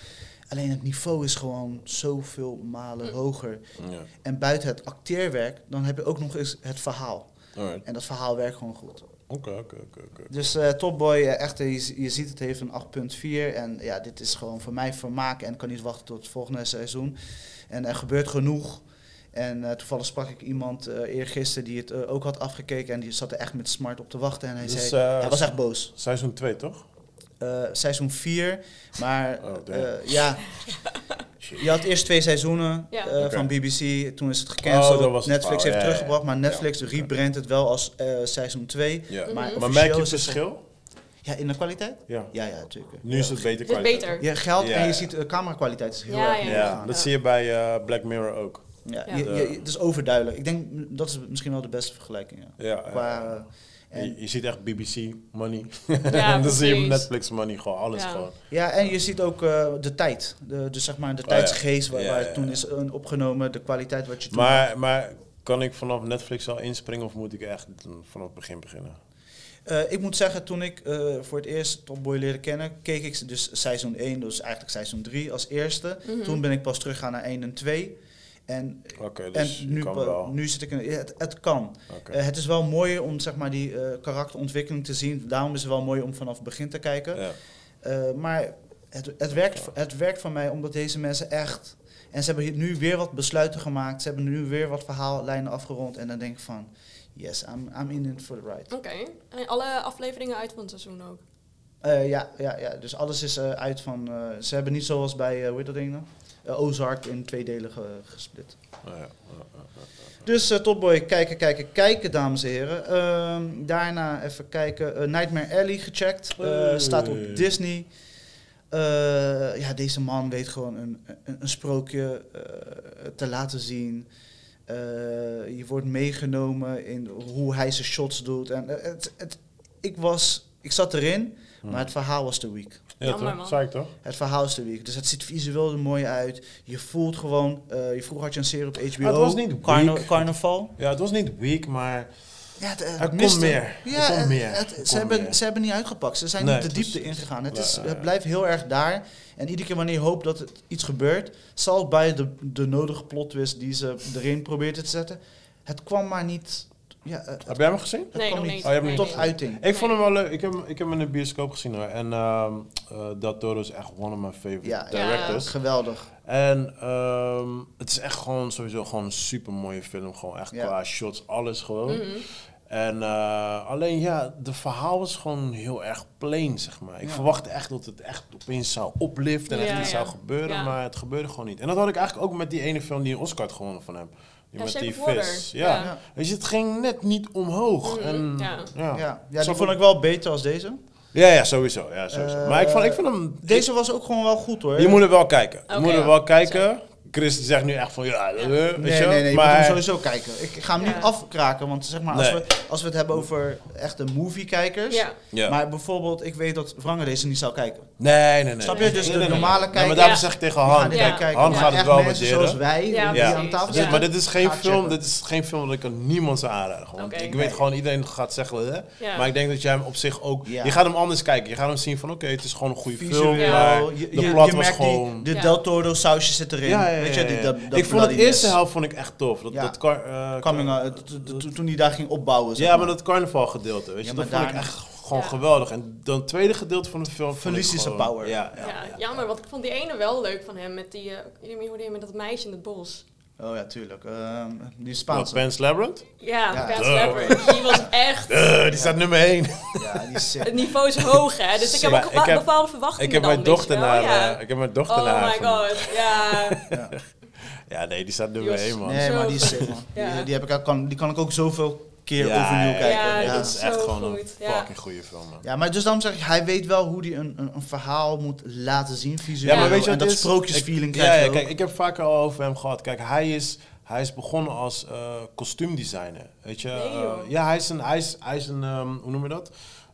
D: Alleen het niveau is gewoon zoveel malen hoger.
A: Ja,
D: En buiten het acteerwerk, dan heb je ook nog eens het verhaal.
A: alright.
D: En dat verhaal werkt gewoon goed.
A: Oké, oké, oké, oké.
D: Dus eh, Top Boy, eh, echt, eh, je, je ziet het heeft een 8.4. En ja, dit is gewoon voor mij vermaak en ik kan niet wachten tot het volgende seizoen. En er gebeurt genoeg. En eh, toevallig sprak ik iemand eh eergisteren die het eh, ook had afgekeken. En die zat er echt met smart op te wachten. En hij
A: Dus,
D: zei,
A: eh,
D: hij was echt boos.
A: Seizoen 2, toch?
D: Eh, seizoen 4, maar
A: Oh, damn.
D: eh, ja... Je had eerst twee seizoenen
B: Ja.
D: eh,
A: Oké.
D: van BBC, toen is het
A: Oh,
D: gecanceld.
A: dat was het
D: Netflix
A: verhaal,
D: heeft
A: ja, ja, ja.
D: teruggebracht, maar Netflix
A: Ja, oké.
D: rebrandt het wel als eh, seizoen 2.
A: Ja.
D: Maar,
A: Maar
D: officieel
A: merk je het
D: is het-
A: verschil?
D: Ja, in de kwaliteit?
A: Ja.
D: Ja, ja, natuurlijk.
A: Nu is het beter
B: Het is
A: kwaliteit.
B: beter.
D: Je geld
A: Ja,
D: en je
A: ja.
D: ziet de camerakwaliteit is heel
B: Ja,
D: erg.
B: ja.
A: Ja, dat zie je bij eh, Black Mirror ook.
D: Ja,
B: Ja.
D: je- je- het is overduidelijk. Ik denk mm, dat is misschien wel de beste vergelijking.
A: Ja,
D: Ja.
A: ja,
D: Qua,
A: ja.
D: eh, en,
A: Je, je ziet echt BBC money.
B: Ja,
A: en dan zie je
B: precies.
A: Netflix money, gewoon alles
B: Ja.
A: gewoon.
D: ja, en je ziet ook eh, de tijd. De, dus zeg maar de
A: ja.
D: tijdsgeest waar,
A: Oh, Ja,
D: waar
A: ja,
D: het toen
A: ja.
D: is eh, opgenomen, de kwaliteit wat je toen.
A: Maar, maar kan ik vanaf Netflix al inspringen of moet ik echt vanaf het begin beginnen?
D: Eh, ik moet zeggen, toen ik eh, voor het eerst Top Boy leerde kennen, keek ik ze dus seizoen 1, dus eigenlijk seizoen 3 als eerste.
B: Mhm.
D: Toen ben ik pas teruggegaan naar 1 en 2. En,
A: Oké, dus
D: en
A: nu
D: nu,
A: kan
D: pa-
A: wel.
D: nu zit ik in. ja, Het, het kan.
A: Oké.
D: Eh, het is wel mooier om zeg maar, die eh, karakterontwikkeling te zien. Daarom is het wel mooi om vanaf het begin te kijken.
A: Ja.
D: Eh, maar het, het, werkt, het werkt voor mij omdat deze mensen echt. En ze hebben hier nu weer wat besluiten gemaakt. Ze hebben nu weer wat verhaallijnen afgerond. En dan denk ik van: yes, I'm, I'm in it for the ride.
B: Oké. En alle afleveringen uit van het seizoen ook.
D: Eh, ja, ja, ja, dus alles is eh, uit van. eh, ze hebben niet zoals bij, eh, hoe heet dat ding nou? Eh, Ozark in eh, twee delen ge- gesplit.
A: Ja, ja,
D: Dus eh, Top Boy, kijken, kijken, kijken, dames en heren. Ehm, daarna even kijken. eh, Nightmare Alley gecheckt. Eh,
A: Hey.
D: Staat op Disney. Eh, ja, deze man weet gewoon een, een, een sprookje eh, te laten zien. Eh, je wordt meegenomen in hoe hij zijn shots doet. En, eh, het, het, ik, was, ik zat erin,
A: Hmm.
D: maar het verhaal was te weak.
A: Ja,
B: Jammer,
A: toch?
B: man.
A: Zei ik toch?
D: Het verhaal is te weak. Dus het ziet visueel er mooi uit. Je voelt gewoon... eh, je vroeger had je een serie op HBO.
A: Maar Oh, het was niet
D: Carna-
A: weak.
D: Carnaval.
A: Ja, het was niet weak, maar
D: Ja, het, eh,
A: Er
D: het
A: komt
D: miste.
A: meer.
D: Ja,
A: Er komt
D: het-
A: meer.
D: het-
A: Er komt
D: ze, hebben,
A: meer.
D: ze hebben niet uitgepakt. Ze zijn
A: Nee,
D: niet de
A: het is-
D: diepte ingegaan. Het, is,
A: Ja, ja, ja.
D: het blijft heel erg daar. En iedere keer wanneer je hoopt dat het iets gebeurt, zal bij de, de nodige plot twist die ze erin probeerden te zetten, het kwam maar niet ja, eh,
A: heb jij hem gezien?
B: nee,
D: kwam
B: nog
D: niet.
B: niet.
A: Oh, je hebt
B: Nee,
A: hem
D: tot
B: nee.
D: uiting.
A: Ik vond hem wel leuk. Ik heb, hem- ik heb hem in de bioscoop gezien hoor. En ehm eh, Del Toro is echt one of my favorite
D: Ja, ja.
A: directors.
D: Geweldig.
A: En ehm, het is echt gewoon sowieso gewoon een super mooie film. Gewoon echt
D: Ja.
A: qua shots, alles gewoon.
B: Mhm.
A: En eh, alleen ja, de verhaal is gewoon heel erg plain, zeg maar. Ik verwachtte echt dat het echt opeens zou opliften en
B: Ja,
A: echt iets
B: ja.
A: zou gebeuren,
B: Ja.
A: maar het gebeurde gewoon niet. En dat had ik eigenlijk ook met die ene film die een Oscar had gewonnen van hem. Die
B: Ja,
A: met
B: Shape
A: die
B: of Water.
A: vis.
B: Ja.
A: Ja. Weet je, het ging net niet omhoog.
B: Mhm,
A: En,
B: ja.
A: ja. Ja. Ja.
D: Ja, ja
A: Zo
D: die
A: vond
D: vond ik wel beter als deze.
A: ja, sowieso. Ja, sowieso. maar ik, vond, ik vond hem...
D: Deze was ook gewoon wel goed hoor.
A: Je moet er wel kijken.
B: Oké.
A: je moet er wel kijken. Chris die zegt nu echt van ja, eh, weet
D: Nee,
A: je,
D: nee, nee, je moet
A: maar
D: hem sowieso kijken. Ik ga hem
B: Ja.
D: niet afkraken, want zeg maar, als,
A: Nee.
D: we, als we het hebben over echte moviekijkers.
B: Ja.
A: Ja.
D: Maar bijvoorbeeld, ik weet dat Wrange deze niet zou kijken.
A: nee, nee, nee.
D: Snap je?
A: nee,
D: Dus
A: nee,
D: de
A: nee, nee.
D: normale
A: Nee,
D: kijker-
A: maar daarom
B: Ja.
A: zeg ik tegen
D: Die gaan
A: Han.
D: dit
B: Ja.
D: niet kijken.
A: Han
D: Maar
A: gaat het
D: echt
A: wel
D: mensen
A: waarderen.
D: Zoals wij,
B: Ja,
D: die
A: precies.
D: aan tafel
A: Dus,
D: zitten.
A: maar dit is geen
D: Ga
A: film,
D: checken.
A: dit is geen film dat ik aan niemand zou aanraden. Want
B: Oké.
A: ik weet
B: Nee.
A: gewoon, iedereen gaat zeggen, hè?
B: Ja.
A: maar ik denk dat jij hem op zich ook...
D: Ja.
A: Je gaat hem anders kijken. Je gaat hem zien van, oké, het is gewoon een goede film.
D: Visueel,
A: Maar
D: je- je-
A: de
D: je
A: plot was
D: merkt die- dus-
A: gewoon...
D: De
B: Ja.
D: Del Toro sausje zit erin.
A: Ja, ja, ja,
D: Weet je, die,
A: ja.
D: dat, dat
A: ik vond de eerste
D: bloodiness.
A: helft vond ik echt tof. Dat,
D: Ja.
A: dat kar- eh,
D: Coming out, to- to- to- toen die daar ging opbouwen. zeg
A: Ja, maar dat carnavalgedeelte, weet je,
D: Ja,
A: dat
D: maar
A: vond ik
D: daar-
A: echt gewoon
B: Ja.
A: geweldig. En dan het tweede gedeelte van de film vond
D: Verlies
A: ik
D: is
A: gewoon-
D: een power.
A: Ja, ja,
B: Ja,
A: ja.
B: jammer, want ik vond die ene wel leuk van hem. Met die, eh, jullie hoorden je met dat meisje in het bos.
D: Oh ja, tuurlijk. Ehm, die
A: Wat,
D: Spaanse.
A: Pan's Labyrinth?
B: Ja,
D: Ja.
B: Bad
A: Oh.
B: Leopard. Die was echt...
A: Eh, die staat nummer 1.
D: Ja, die is sick.
B: Het niveau is hoog, hè. Dus ik heb ook
A: Maar ik
B: gewa-
A: heb-
B: bepaalde verwachtingen
A: ik heb
B: dan,
A: mijn
B: weet
A: dochter
B: je wel,
A: naar,
B: ja.
A: eh, ik heb mijn dochter
B: Oh
A: naar.
B: my god, ja.
A: Ja, nee, die staat nummer
B: Jos.
A: 1, man.
D: Nee,
B: Zo
D: maar die is sick, man.
B: Ja.
D: Die, die, heb ik ook, kan, die kan ik ook zoveel keer
A: Ja,
D: overnieuw
A: ja,
D: kijken.
B: ja,
D: Ja, ja.
A: dat is
B: Zo
A: echt gewoon
B: goed,
A: een
B: ja.
A: fucking goede film, man.
D: maar dus daarom zeg ik, hij weet wel hoe hij een, een, een verhaal moet laten zien visueel.
A: Ja, maar weet je
D: en
A: wat
D: dat
A: het is?
D: sprookjesfeeling
A: Ik-
D: krijg
A: ja,
D: je
A: ja,
D: ook.
A: kijk, ik heb vaker al over hem gehad. Kijk, hij is, hij is begonnen als eh, kostuumdesigner. Weet je?
B: Nee,
A: Eh,
B: joh.
A: ja, hij is een, hij is, hij is een ehm, hoe noem je dat?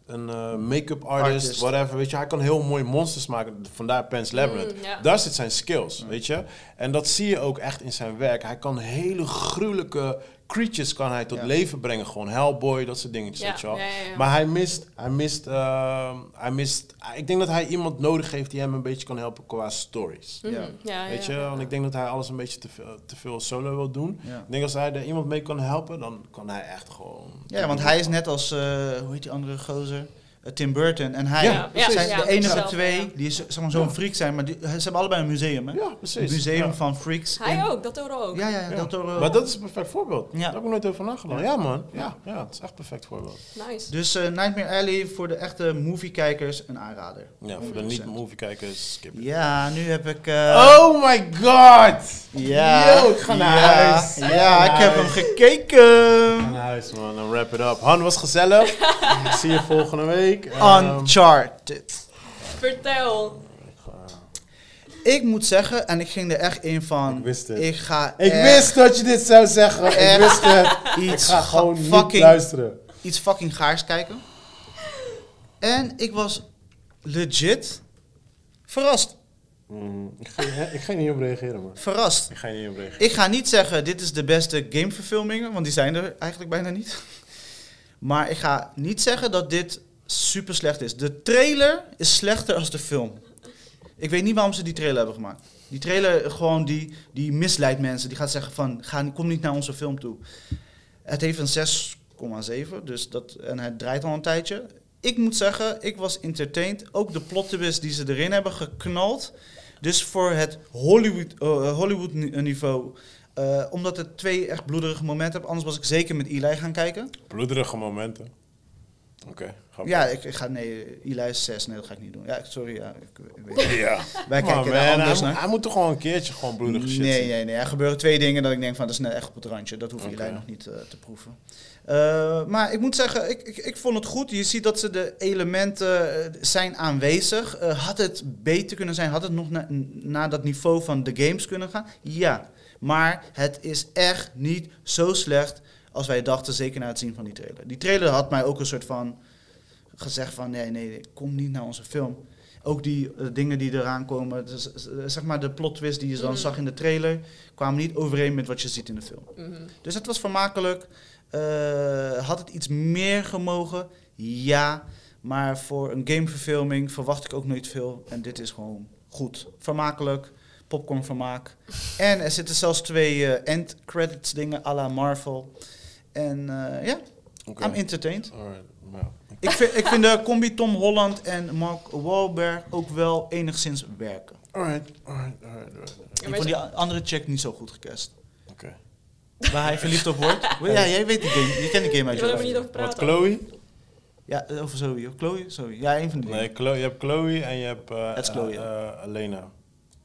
A: Een eh, make-up artist,
D: Artist.
A: whatever. Weet je, hij kan heel mooie monsters maken. Vandaar Pan's Labyrinth.
B: Mm, ja.
A: Daar zit zijn skills,
D: Mm.
A: weet je. En dat zie je ook echt in zijn werk. Hij kan hele gruwelijke creatures kan hij tot
D: Ja.
A: leven brengen. Gewoon Hellboy, dat soort dingetjes,
B: Ja,
A: weet je wel.
B: ja, ja, ja.
A: Maar hij mist, hij mist, ehm, hij mist... Ik denk dat hij iemand nodig heeft die hem een beetje kan helpen qua stories.
D: Ja.
B: Hm. Ja,
A: Weet
B: ja.
A: je, want ik denk dat hij alles een beetje te veel, te veel solo wil doen.
D: Ja.
A: Ik denk als hij er iemand mee kan helpen, dan kan hij echt gewoon.
D: Ja, want hij is net als, eh, hoe heet die andere gozer? Eh, Tim Burton. En hij
A: Ja,
B: precies.
D: zijn
B: Ja,
D: de enige
B: zelf,
D: twee
B: ja.
D: die z- zeg maar, zo'n freak zijn, maar die, ze hebben allebei een museum, hè?
A: Ja,
D: Een
A: precies.
D: museum
A: Ja.
D: van freaks. in-
B: Hij ook, dat hoorde ook.
D: Ja, ja, ja.
A: Ja.
D: Del Toro.
A: Maar dat is een perfect voorbeeld.
D: eh, Ja.
A: Daar heb ik nooit over nagedacht. Ja, man. Ja, ja, het is echt een perfect voorbeeld.
B: Nice.
D: Dus eh, Nightmare Alley voor de echte moviekijkers een aanrader.
A: Ja, voor de
D: 100%.
A: niet-moviekijkers, skip it.
D: Ja, nu heb ik... eh,
A: Oh my god!
D: ja,
A: Yo, ik ga naar
D: ja,
A: huis.
D: Ja,
A: Ik ga naar
D: ik heb hem
A: huis.
D: gekeken.
A: Nice man, dan wrap it up. Han was gezellig. ik zie je volgende week. Ehm,
D: Uncharted.
B: Vertel.
D: Ik moet zeggen, en ik ging er echt in van...
A: Ik wist het.
D: Ik ga
A: ik
D: echt
A: wist dat je dit zou zeggen. Ik
D: Echt?
A: wist het. Ik
D: iets,
A: ga gewoon niet
D: Eh. fucking
A: luisteren.
D: iets fucking gaars kijken. En ik was legit verrast.
A: Mm, ik, ga, ik ga niet op reageren, man.
D: Verrast.
A: Ik ga niet op reageren.
D: Ik ga niet zeggen, dit is de beste gameverfilmingen, want die zijn er eigenlijk bijna niet. Maar ik ga niet zeggen dat dit super slecht is. De trailer is slechter als de film. Ik weet niet waarom ze die trailer hebben gemaakt. Die trailer eh, gewoon die, die misleidt mensen. Die gaat zeggen van, ga, kom niet naar onze film toe. Het heeft een 6,7 dus dat, en het draait al een tijdje. Ik moet zeggen, ik was entertained. Ook de plot twist die ze erin hebben geknald. Dus voor het Hollywood, eh, Hollywood ni- niveau. eh, omdat het twee echt bloederige momenten hebben. Anders was ik zeker met Eli gaan kijken.
A: Bloederige momenten. Oké, grappig.
D: Ja, ik, ik ga... Nee, Eli is 6. Nee, dat ga ik niet doen. Ja, ik- sorry. Ja, ik, ik weet het.
A: Ja. Maar
D: Wij kijken
A: Oh, man,
D: daar
A: hij,
D: anders
A: moet-
D: naar.
A: hij moet toch gewoon een keertje gewoon bloedige shit
D: nee,
A: zien.
D: nee, nee. Er gebeuren twee dingen dat ik denk van dat is net echt op het randje. Dat hoef je
A: Oké.
D: nog niet eh, te proeven. Eh, maar ik moet zeggen, ik, ik, ik vond het goed. Je ziet dat ze de elementen eh, zijn aanwezig. Eh, had het beter kunnen zijn? Had het nog na- naar dat niveau van de games kunnen gaan? Ja. Maar het is echt niet zo slecht als wij dachten, zeker na het zien van die trailer. Die trailer had mij ook een soort van gezegd van nee, nee, nee, kom niet naar onze film. Ook die eh, dingen die eraan komen, dus, eh, zeg maar de plot twist die je dan
B: Mm.
D: zag in de trailer, kwamen niet overeen met wat je ziet in de film.
B: Mhm.
D: Dus het was vermakelijk. Eh, had het iets meer gemogen? Ja. Maar voor een gameverfilming verwacht ik ook nooit veel. En dit is gewoon goed. Vermakelijk. Popcornvermaak. en er zitten zelfs twee eh end credits dingen à la Marvel. En eh, ja,
A: Oké.
D: I'm entertained.
A: Alright, nou. ja.
D: Ik vind, ik vind de combi Tom Holland en Mark Wahlberg ook wel enigszins werken.
A: Alright, alright, alright, alright.
B: Ja,
D: ik
B: maar
D: vond
B: ze-
D: die a- andere check niet zo goed gecast.
A: Oké.
D: waar hij verliefd op wordt. Ja, jij weet die game. Je kent die game
B: Je
D: uit
B: wil er maar
D: je
B: niet over
A: Wat,
B: praten.
A: Chloe?
D: Ja, of Zoe. Of Chloe? Zoe. Ja, één van die.
A: Nee, Chloe, je hebt Chloe en je hebt eh,
D: Het is Chloe,
A: eh, eh, Lena.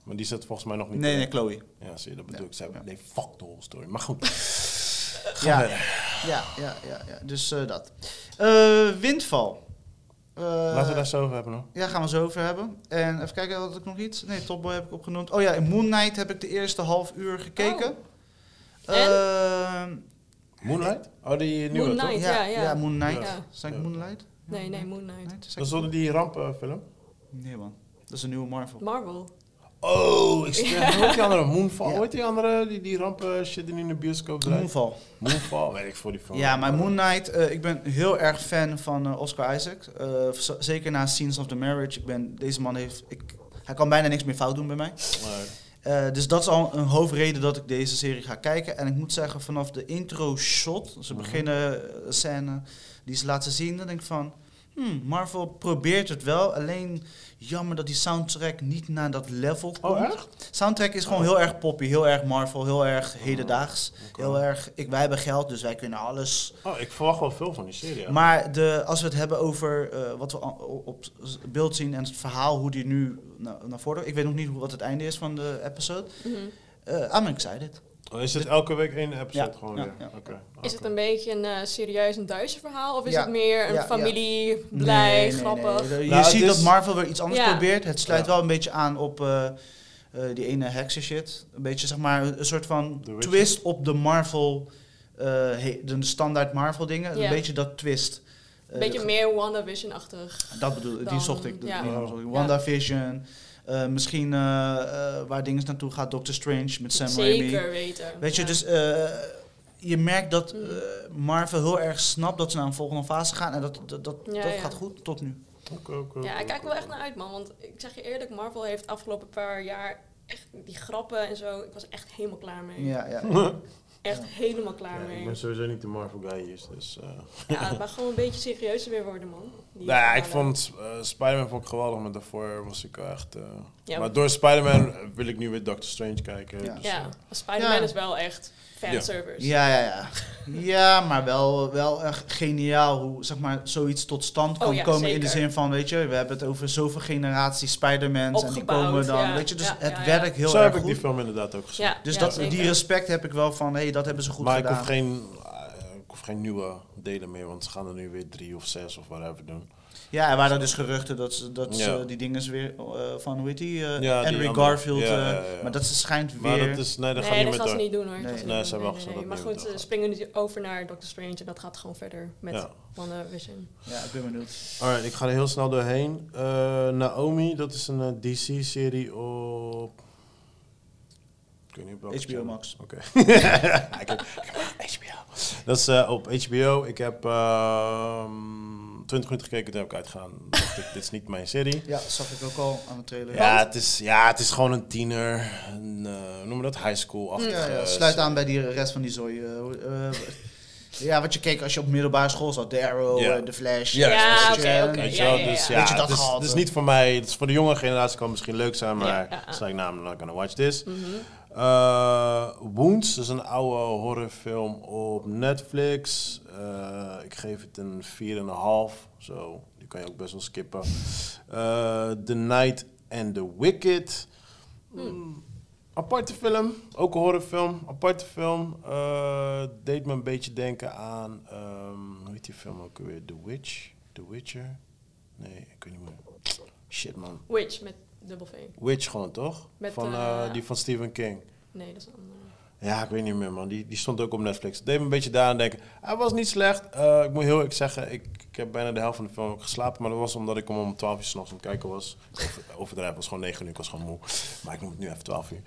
A: Maar die zit volgens mij nog niet
D: Nee,
A: in.
D: nee, Chloe.
A: Ja, zie je, dat bedoel ik. Ze hebben, nee, fuck de whole story. Maar goed. Ga
D: Ja.
A: verder.
D: Ja, ja, ja, ja. dus eh, dat. Eh, windval. Eh,
A: Laten we daar zo over hebben nog.
D: Ja, gaan we zo over hebben. En even kijken, had ik nog iets? Nee, Top Boy heb ik opgenoemd. Oh ja, in Moon Knight heb ik de eerste half uur gekeken.
B: Oh. En?
D: Ehm,
A: Moonlight? Oh, die nieuwe,
B: Moon
A: toch?
B: Knight,
D: ja, ja,
B: ja, ja.
D: Moon Knight.
B: Ja.
D: Zijn ik
A: Ja.
D: Moonlight?
B: Nee, nee, Moon Knight.
D: Knight? Zeg
A: Dat
D: ik-
A: is onder die eh, rampenfilm.
D: Nee man, dat is een nieuwe Marvel.
B: Marvel.
A: Oh, ik stel. Hoe heet die andere? Moonfall?
D: Ja.
A: Hoe heet die andere? Die, die rampen shit die nu in de bioscoop draait?
D: Moonval.
A: Moonfall? Weet ik voor die film.
D: Ja, maar Moon Knight, eh, ik ben heel erg fan van eh, Oscar Isaac. Eh, z- zeker na Scenes of the Marriage. Ik ben, deze man heeft, ik, hij kan bijna niks meer fout doen bij mij.
A: Nee.
D: Eh, dus dat is al een hoofdreden dat ik deze serie ga kijken. En ik moet zeggen, vanaf de intro shot,
A: Mhm.
D: ze beginnen eh, scène die ze laten zien, dan denk ik van. Hmm, Marvel probeert het wel, alleen jammer dat die soundtrack niet naar dat level komt.
A: Oh, echt? Oh.
D: Soundtrack is gewoon heel erg poppy, heel erg Marvel, heel erg hedendaags.
A: oké.
D: Heel erg, ik, wij hebben geld, dus wij kunnen alles.
A: Oh, ik verwacht wel veel van die serie. ja.
D: Maar de, als we het hebben over eh, wat we al- op s- beeld zien en het verhaal, hoe die nu na- naar voren... Ik weet nog niet hoe- wat het einde is van de episode.
B: Mhm.
D: Eh I'm excited.
A: Oh, Is het elke week één episode
D: Ja,
A: gewoon
D: ja,
A: weer?
D: ja.
A: Oké. Ah, oké.
B: Is het een beetje een eh, serieus en duister verhaal? Of is
D: Ja.
B: het meer een
D: Ja, ja.
B: familie,
D: Nee,
B: blij,
D: nee, nee,
B: grappig?
D: nee. Je
A: Nou, het
D: ziet
A: is-
D: dat Marvel weer iets anders
B: Ja.
D: probeert. Het sluit
A: Ja.
D: wel een beetje aan op eh, eh, die ene heksen shit. Een beetje zeg maar een soort van
A: The Witcher.
D: twist op de Marvel, eh, he- de standaard Marvel dingen.
B: Ja.
D: Een beetje dat twist. Eh,
B: Een beetje meer WandaVision-achtig.
D: Dat bedoel ik, die
B: dan-
D: zocht ik.
B: ja. Oh.
D: Die zocht ik.
B: Ja.
D: WandaVision, eh, misschien eh, eh, waar dingen naartoe gaat, Doctor Strange met Sam Raimi.
B: Zeker weten.
D: Weet je,
B: Ja.
D: dus eh, je merkt dat eh,
B: Mhm.
D: Marvel heel erg snapt dat ze naar een volgende fase gaan. En dat, dat, dat,
B: Ja,
D: dat
B: ja.
D: gaat goed tot nu.
A: Oké, oké,
B: Ja,
A: oké,
B: ik kijk er
A: oké.
B: wel echt naar uit, man. Want ik zeg je eerlijk, Marvel heeft afgelopen paar jaar echt die grappen en zo. Ik was echt helemaal klaar mee.
D: Ja, ja.
B: Echt
D: Ja.
B: helemaal klaar
A: Ja,
B: mee.
A: ik ben sowieso niet de Marvel guy hier, dus... eh.
B: Ja, maar gewoon een beetje serieuzer weer worden, man. Die
A: Nou ja, ik
B: verhalen.
A: vond eh, Spider-Man vond ik geweldig, maar daarvoor was ik wel echt... eh,
B: Ja.
A: Maar door Spider-Man wil ik nu weer Doctor Strange kijken.
D: Ja.
A: dus,
B: Ja,
A: eh,
B: maar Spider-Man
D: Ja.
B: is wel echt fanservice.
D: Ja, ja, ja. Ja, maar wel, wel echt geniaal hoe zeg maar, zoiets tot stand kan
B: Oh ja,
D: komen. In de
B: zeker.
D: zin van, weet je, we hebben het over zoveel generaties Spider-Mans. En die
B: Opgebouwd,
D: komen dan,
B: ja.
D: weet je, dus
B: Ja,
D: het
B: ja, ja.
D: werkt heel
A: Zo
D: erg
A: heb ik
D: goed.
A: die film inderdaad ook gezien.
B: Ja,
D: dus
B: ja,
D: dat,
B: zeker.
D: die respect heb ik wel van, hé, hey, dat hebben ze goed
A: maar ik
D: gedaan.
A: hoef, geen, eh, ik hoef geen nieuwe delen meer, want ze gaan er nu weer drie of zes of whatever doen.
D: Ja, er waren dus geruchten dat, ze, dat
A: Ja.
D: ze die dingen is weer eh, van, hoe heet die? eh,
A: Ja, die
D: Henry
A: andere.
D: Garfield.
A: Ja, ja,
D: eh,
A: ja, ja.
D: Maar dat ze schijnt
A: Maar
D: weer...
A: dat is... Nee, dat gaat
B: nee,
A: niet
B: dat
A: meer
B: gaan ze
A: door.
B: niet doen hoor.
D: Nee.
B: Dat gaan
A: Nee,
B: niet
A: ze
B: doen.
A: hebben wel gezegd dat
B: Maar
A: het niet
B: goed,
A: meer
B: ze springen nu over naar Doctor Strange en dat gaat gewoon verder met
A: Ja.
B: WandaVision.
D: Ja, ik ben benieuwd.
A: Alright, ik ga er heel snel doorheen. Eh, Naomi, dat is een eh, DC-serie op... Ik weet niet op welke
D: HBO
A: channel.
D: Max.
A: Oké. Ik heb- HBO. Dat is eh, op HBO. Ik heb ehm 20 minuten gekeken, toen heb ik uitgegaan. Dacht ik, dit is niet mijn serie.
D: Ja, dat zag ik ook al aan de trailer.
A: Ja, het is, ja, het is gewoon een tiener. Een, eh, hoe noemen we dat? High school-achtige...
D: Ja, ja,
A: eh,
D: sluit aan bij die rest van die zooi. eh, hoe- eh, ja, wat je keek als je op middelbare school zat. The Arrow,
A: Ja.
D: eh, The Flash.
A: Ja,
B: ja,
D: Jessica
B: oké,
D: Chastain.
B: oké.
A: Weet je
B: Ja,
A: wel,
B: ja, ja,
A: dus
B: ja.
A: ja,
D: Weet je, dat
A: het is,
D: gehalte.
A: het is niet voor mij. Het is voor de jonge generatie kan het misschien leuk zijn, maar
B: Ja, ja, ja.
A: it's like, nah, I'm not gonna watch this.
D: Mhm.
A: Eh, Wounds is een oude horrorfilm op Netflix. Eh, ik geef het een 4,5. Zo, die kan je ook best wel skippen. Eh, the Night and the Wicked. Mm, Aparte film, ook een horrorfilm. Aparte film. Eh, deed me een beetje denken aan. ehm, hoe heet die film ook weer? The Witch? The Witcher? Nee, ik weet niet meer. Shit man.
B: Witch met dubbel V.
A: Witch gewoon toch?
B: Met,
A: van,
B: eh,
A: eh, die van Stephen King.
B: Nee, dat is een andere.
A: Ja, ik weet niet meer, man. Die, die stond ook op Netflix. Deed me een beetje daaraan denken. Hij was niet slecht. Eh, ik moet heel eerlijk zeggen, ik, ik heb bijna de helft van de film ook geslapen. Maar dat was omdat ik hem om 12 uur s'nachts aan het kijken was. Over, overdrijven was gewoon 9 uur. Ik was gewoon moe. Maar ik noem het nu even 12 uur.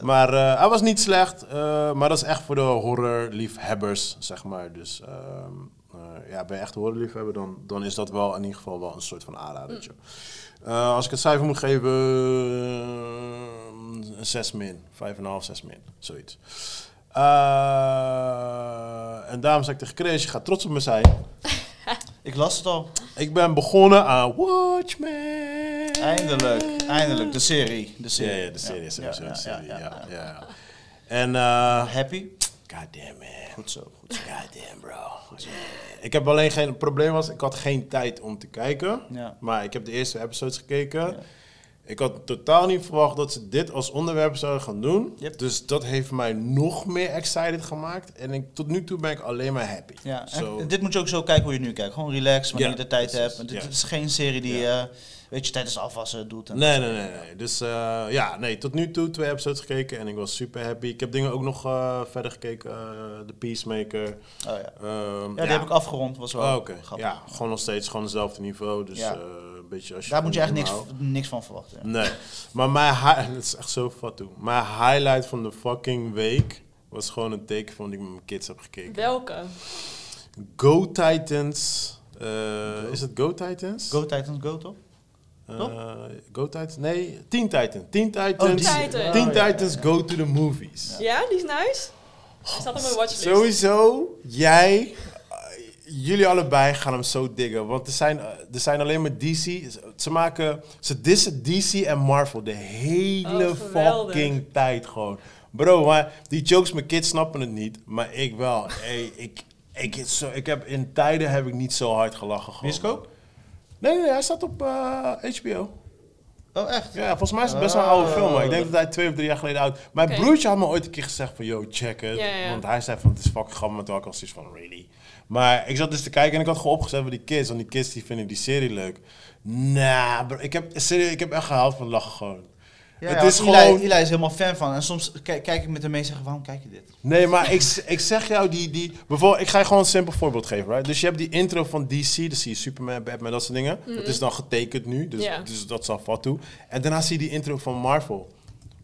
A: Maar eh, hij was niet slecht. eh, maar dat is echt voor de horrorliefhebbers, zeg maar. Dus ehm, eh, ja, ben je echt een horrorliefhebber, dan, dan is dat wel in ieder geval wel een soort van aanradertje. Eh, als ik het cijfer moet geven, eh, een 6 min. 5,5, 6 min. Zoiets. Eh, en daarom zei ik tegen Chris, je gaat trots op me zijn.
D: Ik las het al.
A: Ik ben begonnen aan Watchmen.
D: Eindelijk, eindelijk. De serie. De
A: Ja,
D: serie.
A: ja, de serie.
D: Ja,
A: sowieso,
D: ja,
A: de
D: ja,
A: serie,
D: ja,
A: ja,
D: ja.
A: ja. En eh,
D: Happy?
A: God damn man.
E: Goed zo, goed zo.
A: God damn bro. Ik heb alleen geen het probleem was, ik had geen tijd om te kijken.
E: Ja.
A: Maar ik heb de eerste episodes gekeken. Ik had totaal niet verwacht dat ze dit als onderwerp zouden gaan doen.
E: Yep.
A: Dus dat heeft mij nog meer excited gemaakt. En ik, tot nu toe ben ik alleen maar happy.
E: Ja, en
A: Zo.
E: dit moet je ook zo kijken hoe je nu kijkt. Gewoon relax, wanneer
A: Ja,
E: je de tijd
A: precies,
E: hebt. Dit
A: ja.
E: dit is geen serie die, eh, weet je, tijdens afwassen doet. En
A: Nee, nee, nee, nee. Dus eh, ja, nee, tot nu toe twee episodes gekeken en ik was super happy. Ik heb dingen ook nog eh, verder gekeken. eh The Peacemaker.
E: Oh, ja.
A: Ehm,
E: ja, die heb ik afgerond. was wel
A: Oh, Oké,
E: grappig.
A: ja, gewoon nog steeds gewoon hetzelfde niveau. Dus
E: Ja.
A: eh, een beetje als je
E: Daar moet je
A: van
E: echt
A: die
E: niks,
A: houdt.
E: niks van verwachten. ja.
A: Nou. Nee, maar mijn hi- het is echt zo fat toe. Mijn highlight van de fucking week was gewoon een teken van die ik met mijn kids heb gekeken.
B: Welke?
A: Go Titans. eh, Is het Go Titans?
E: Go Titans Go, toch?
A: Eh,
E: Toch?
A: Go Titans? Nee, Teen Titans. Teen Titans.
B: Teen Titans.
A: Teen
E: Oh, ja, ja,
A: Titans Go to the Movies.
B: Ja, die is nice. Hij staat op mijn watchlist.
A: Sowieso, jij, eh, jullie allebei gaan hem zo diggen. Want er zijn, eh, er zijn alleen maar DC. Ze maken, ze dissen DC en Marvel de hele
B: Oh, geweldig.
A: fucking tijd gewoon. Bro, maar die jokes, mijn kids snappen het niet, maar ik wel. Hey, ik, ik, het zo, ik heb, in tijden heb ik niet zo hard gelachen gewoon.
E: Bioscoop?
A: Nee, nee, hij staat op eh, HBO.
E: Oh, echt?
A: Ja, volgens mij is het best wel een oude film. hoor. Ik denk dat hij twee of drie jaar geleden oud Mijn
B: Oké.
A: broertje had me ooit een keer gezegd van... Yo, check it.
B: Ja, ja.
A: Want hij zei van, het is fucking grappig. Maar toen had ik al zoiets van, really? Maar ik zat dus te kijken en ik had gewoon opgezet voor die kids. Want die kids die vinden die serie leuk. Nah, bro, ik heb, serieus, ik heb echt gehaald van lachen gewoon.
E: Ja,
A: het
E: ja,
A: is
E: Eli-
A: gewoon...
E: Eli is helemaal fan van. En soms ki- kijk ik met hem mee en zeg waarom kijk je dit?
A: Nee, maar ik, z- ik zeg jou die... die bijvoorbeeld, ik ga je gewoon een simpel voorbeeld geven. Right? Dus je hebt die intro van DC. Dan zie je Superman, Batman, dat soort dingen. Dat is dan getekend nu. Dus,
B: Mhm. Ja.
A: dus dat is al wat toe. En daarna zie je die intro van Marvel.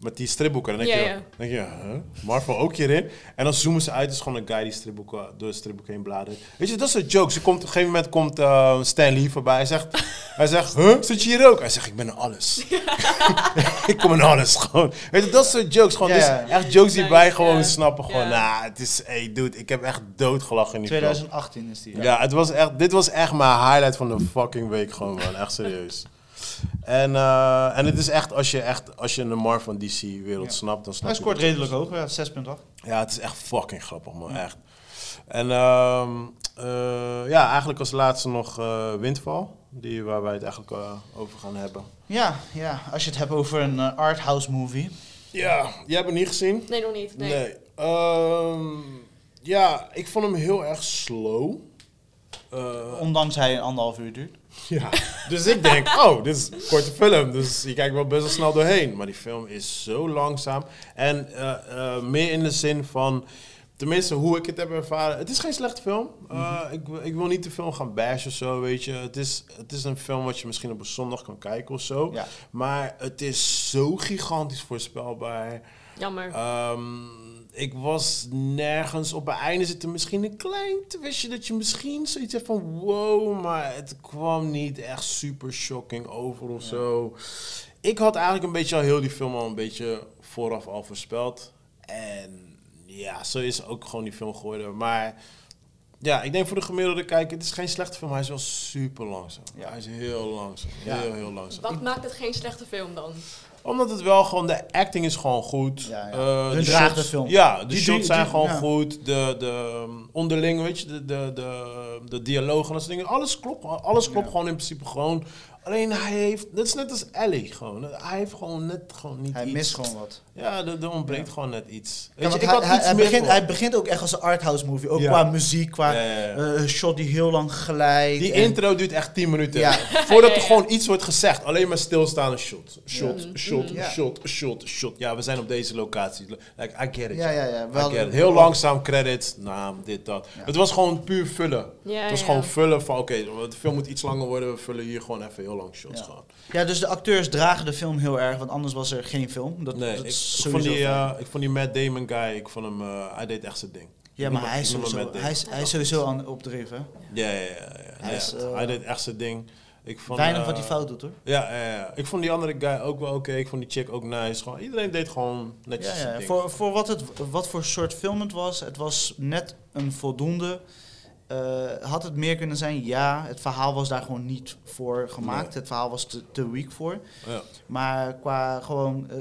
A: Met die stripboeken. Dan denk
B: Ja,
A: je,
B: ja.
A: denk je huh? Marvel ook hierin. En dan zoomen ze uit. Het is gewoon een guy die stripboeken, door de stripboeken heen bladert. Weet je, dat soort jokes. Er komt, op een gegeven moment komt eh, Stan Lee voorbij. Hij zegt, hij zegt huh? zit je hier ook? Hij zegt, ik ben in alles. ik kom in alles gewoon. Weet je, dat soort jokes. Gewoon,
E: Ja,
A: dus
E: ja.
A: echt jokes die
B: Nice,
E: eh,
A: wij gewoon
B: ja.
A: snappen. Gewoon,
B: Ja.
A: nou, het is, hey dude, ik heb echt doodgelachen in die film.
E: 2018 is die.
A: Ja, het was echt, dit was echt mijn highlight van de fucking week gewoon, man. Echt serieus. En, eh, en het is echt, als je echt, als je de Marvel van DC-wereld
E: Ja.
A: snapt, dan snap
E: Hij
A: je
E: scoort
A: dit.
E: redelijk hoog, ja, 6,8.
A: Ja, het is echt fucking grappig, man. Echt. En ehm, eh, ja, eigenlijk als laatste nog eh, Windval. Die waar wij het eigenlijk eh, over gaan hebben.
E: Ja, ja, als je het hebt over een art arthouse movie.
A: Ja, jij hebt hem niet gezien?
B: Nee, nog niet. Nee.
A: Ehm, ja, ik vond hem heel erg slow. Eh,
E: Ondanks hij een anderhalf uur duurt.
A: Ja. Dus ik denk, oh, dit is een korte film. Dus je kijkt wel best wel snel doorheen. Maar die film is zo langzaam. En eh, eh, meer in de zin van, tenminste hoe ik het heb ervaren. Het is geen slechte film. Eh, ik, wil- ik wil niet de film gaan bashen of zo, weet je. Het is, het is een film wat je misschien op een zondag kan kijken of zo.
E: Ja.
A: Maar het is zo gigantisch voorspelbaar.
B: Jammer.
A: Ehm, ik was nergens. Op het einde zit er misschien een klein twistje dat je misschien zoiets hebt van wow, maar het kwam niet echt super shocking over of zo. Ik had eigenlijk een beetje al heel die film al een beetje vooraf al voorspeld. En ja, zo is ook gewoon die film geworden. Maar ja, ik denk voor de gemiddelde kijker, het is geen slechte film, maar hij is wel super langzaam.
E: Ja.
A: Hij is heel langzaam.
E: Ja.
A: Heel, heel langzaam.
B: Wat maakt het geen slechte film dan?
A: Omdat het wel gewoon, de acting is gewoon goed.
E: Ja, ja.
A: Eh,
E: Hun dragen
A: shots-
E: de film.
A: Ja, de
E: Die-
A: shots
E: die-
A: zijn
E: die-
A: gewoon
E: ja.
A: goed. De, de um, onderling, weet je, de, de, de, de dialoog en dat soort dingen. Alles klopt, gewoon. alles klopt gewoon in principe gewoon. Alleen hij heeft, dat is net als Ellie gewoon. Hij heeft gewoon net gewoon niet
E: Hij
A: iets.
E: mist gewoon wat.
A: Ja, er er ontbreekt gewoon net iets.
E: Ja,
A: Weet je,
E: want
A: ik
E: hij,
A: had
E: hij-
A: iets
E: hij
A: meer
E: begint,
A: verwacht.
E: hij begint ook echt als een arthouse movie. Ook
A: Ja.
E: qua muziek, qua
A: Ja, ja, ja.
E: eh, shot die heel lang glijdt.
A: Die
E: en-
A: intro duurt echt 10 minuten.
E: Ja.
A: Voordat
B: Ja,
A: er
B: ja. Mhm.
A: gewoon iets wordt gezegd. Alleen maar stilstaan en shot. Shot,
E: Ja.
A: shot,
E: Ja.
A: shot, shot, shot. Ja, we zijn op deze locatie. Like, I get it.
E: Ja, ja, ja. Wel-
A: I get it. Heel langzaam credits, naam, dit, dat.
E: Ja.
A: Het was gewoon puur vullen.
B: Ja,
A: het was
B: ja.
A: gewoon vullen van, oké, de film moet iets langer worden. We vullen hier gewoon even heel lang shots
E: Ja.
A: gewoon.
E: Ja, dus de acteurs dragen de film heel erg, want anders was er geen film. Dat,
A: Nee,
E: dat
A: ik, ik
E: is
A: vond die,
E: sowieso fijn.
A: eh, ik vond die Matt Damon guy, ik vond hem, eh, hij deed echt zijn ding.
E: ja,
A: Ik
E: maar
A: noem hem-
E: hij is
A: ik noem hem
E: sowieso,
A: Matt Damon.
E: hij is, hij is sowieso aan opdreven.
A: Ja, ja, ja. ja.
E: Hij
A: Ja,
E: is, eh,
A: hij deed echt zijn ding. Ik vond,
E: Weinig
A: eh,
E: wat hij fout doet hoor.
A: Ja, ja, ja, ik vond die andere guy ook wel oké. Ik vond die chick ook nice. Gewoon, iedereen deed gewoon netjes
E: Ja,
A: zijn
E: ja.
A: ding.
E: Voor, voor wat, het, wat voor soort film het was, het was net een voldoende.
D: eh, had het meer kunnen zijn? Ja, het verhaal was daar gewoon niet voor gemaakt. Het verhaal was te, te weak voor.
A: Ja.
D: Maar qua gewoon eh,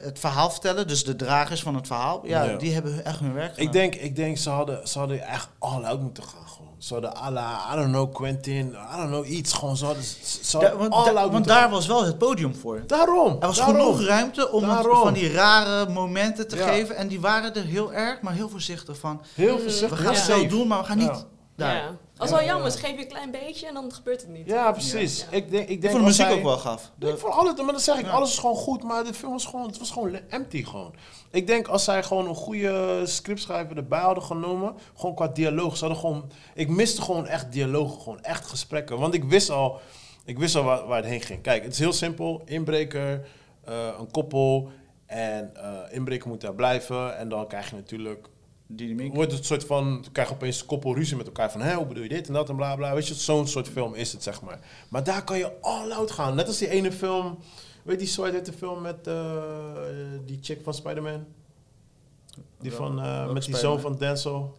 D: het verhaal vertellen, dus de dragers van het verhaal, ja,
A: Ja.
D: die hebben hun- echt hun werk gedaan.
A: Ik denk, ik denk ze, hadden, ze hadden echt all out moeten gaan. Gewoon. Ze hadden à la, I don't know, Quentin, I don't know, iets. Gewoon, ze hadden, ze ze
D: Da-
A: hadden
D: want
A: all
D: da-
A: out
D: want
A: moeten
D: daar was wel het podium voor.
A: Daarom.
D: Er was
A: daarom.
D: genoeg ruimte om het-
A: Daarom.
D: van die rare momenten te
A: Ja.
D: geven. En die waren er heel erg, maar heel voorzichtig van.
A: Heel
D: We
A: voorzichtig.
D: gaan
A: heel
D: het wel
A: safe.
D: doen, maar we gaan niet
A: Ja.
D: daar.
B: Ja. Als wel jammer is, geef je een klein beetje en dan gebeurt het niet.
A: Ja, precies.
B: Ja.
A: Ik denk, ik
D: Ik
A: denk
D: vond de
A: als
D: muziek
A: hij-
D: ook wel gaaf. De-
A: ik vond alles, maar dat zeg ik, alles is gewoon goed, maar de film was gewoon, het was gewoon le- empty gewoon. Ik denk als zij gewoon een goede scriptschrijver erbij hadden genomen, gewoon qua dialoog, ze hadden gewoon, ik miste gewoon echt dialogen, gewoon echt gesprekken, want ik wist al, ik wist al waar, waar het heen ging. Kijk, het is heel simpel, inbreker, eh, een koppel en eh, inbreker moet daar blijven en dan krijg je natuurlijk
D: Dynamiek.
A: Wordt het een soort van, dan krijg je opeens een koppel ruzie met elkaar van, hé, hoe bedoel je dit en dat en bla bla. Weet je, zo'n soort film is het, zeg maar. Maar daar kan je all out gaan. Net als die ene film, weet je, zo heet de film met eh, die chick van Spider-Man? Die
D: Wel-
A: van, eh,
D: welke
A: met die zoon
D: Spider-Man?
A: van Denzel.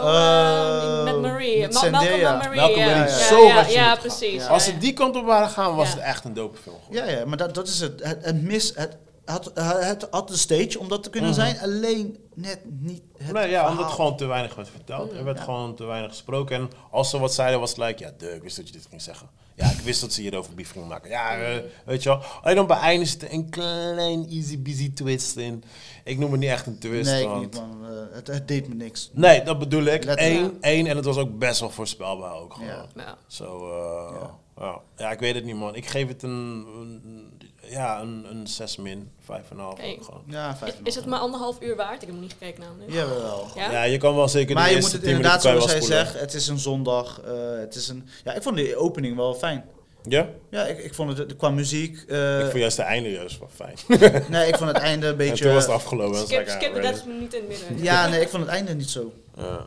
B: Oh, eh,
D: Eh,
B: met Marie.
D: met
B: Ma- Malcolm
D: Zendaya.
B: en Marie.
A: Malcolm
B: ja.
A: en Marie,
B: Ja,
A: zo
B: ja,
A: had je
B: ja,
A: moeten
B: precies.
A: Als
B: ja,
A: ze die kant op waren gaan, was
B: Ja.
A: het echt een dope film. geworden.
D: Ja, ja, maar dat, dat is het. Het, het mis. Het, had, het had de stage om dat te kunnen zijn, alleen net niet het
A: Mhm. nee, ja, omdat
D: verhaal.
A: gewoon te weinig werd verteld. Er werd gewoon te weinig gesproken. En als ze wat zeiden, was het like, ja, duh, ik wist dat je dit ging zeggen. Ja, ik wist dat ze hierover beef gingen maken. Ja, eh, weet je wel. Alleen dan beëindigen ze er een klein easy-busy twist in. Ik noem het niet echt een twist.
D: Nee, ik
A: want-
D: niet, man. Eh, het, het deed me niks.
A: Nee, dat bedoel ik.
D: Letterlijk.
A: Eén, één, en het was ook best wel voorspelbaar ook gewoon.
D: Ja.
B: ja.
A: Zo, eh, ja. ja. ik weet het niet, man. Ik geef het een, een- ja, een, een 6 min, 5,5
B: Oké.
A: ook gewoon.
D: Ja, vijf
B: Is, is het maar anderhalf uur waard? Ik heb nog niet gekeken namelijk.
D: Jawel.
A: Ja.
B: Ja?
A: je kan wel zeker
D: Maar
A: de
D: je
A: eerste
D: moet het
A: 10 minuten
D: inderdaad,
A: kan je
D: zoals hij
A: wel spoelen.
D: zegt, het is een zondag. eh, het is een, ja, ik vond de opening wel fijn.
A: Ja?
D: Ja, ik, ik vond het qua muziek. eh,
A: Ik vond juist de einde juist wel fijn.
D: nee, ik vond het einde een beetje. eh,
A: en toen was het afgelopen. en was
B: Skip,
A: like, ah,
B: skip de
A: ready.
B: 30 minuten in het midden.
D: ja, nee, ik vond het einde niet zo.
A: Ja,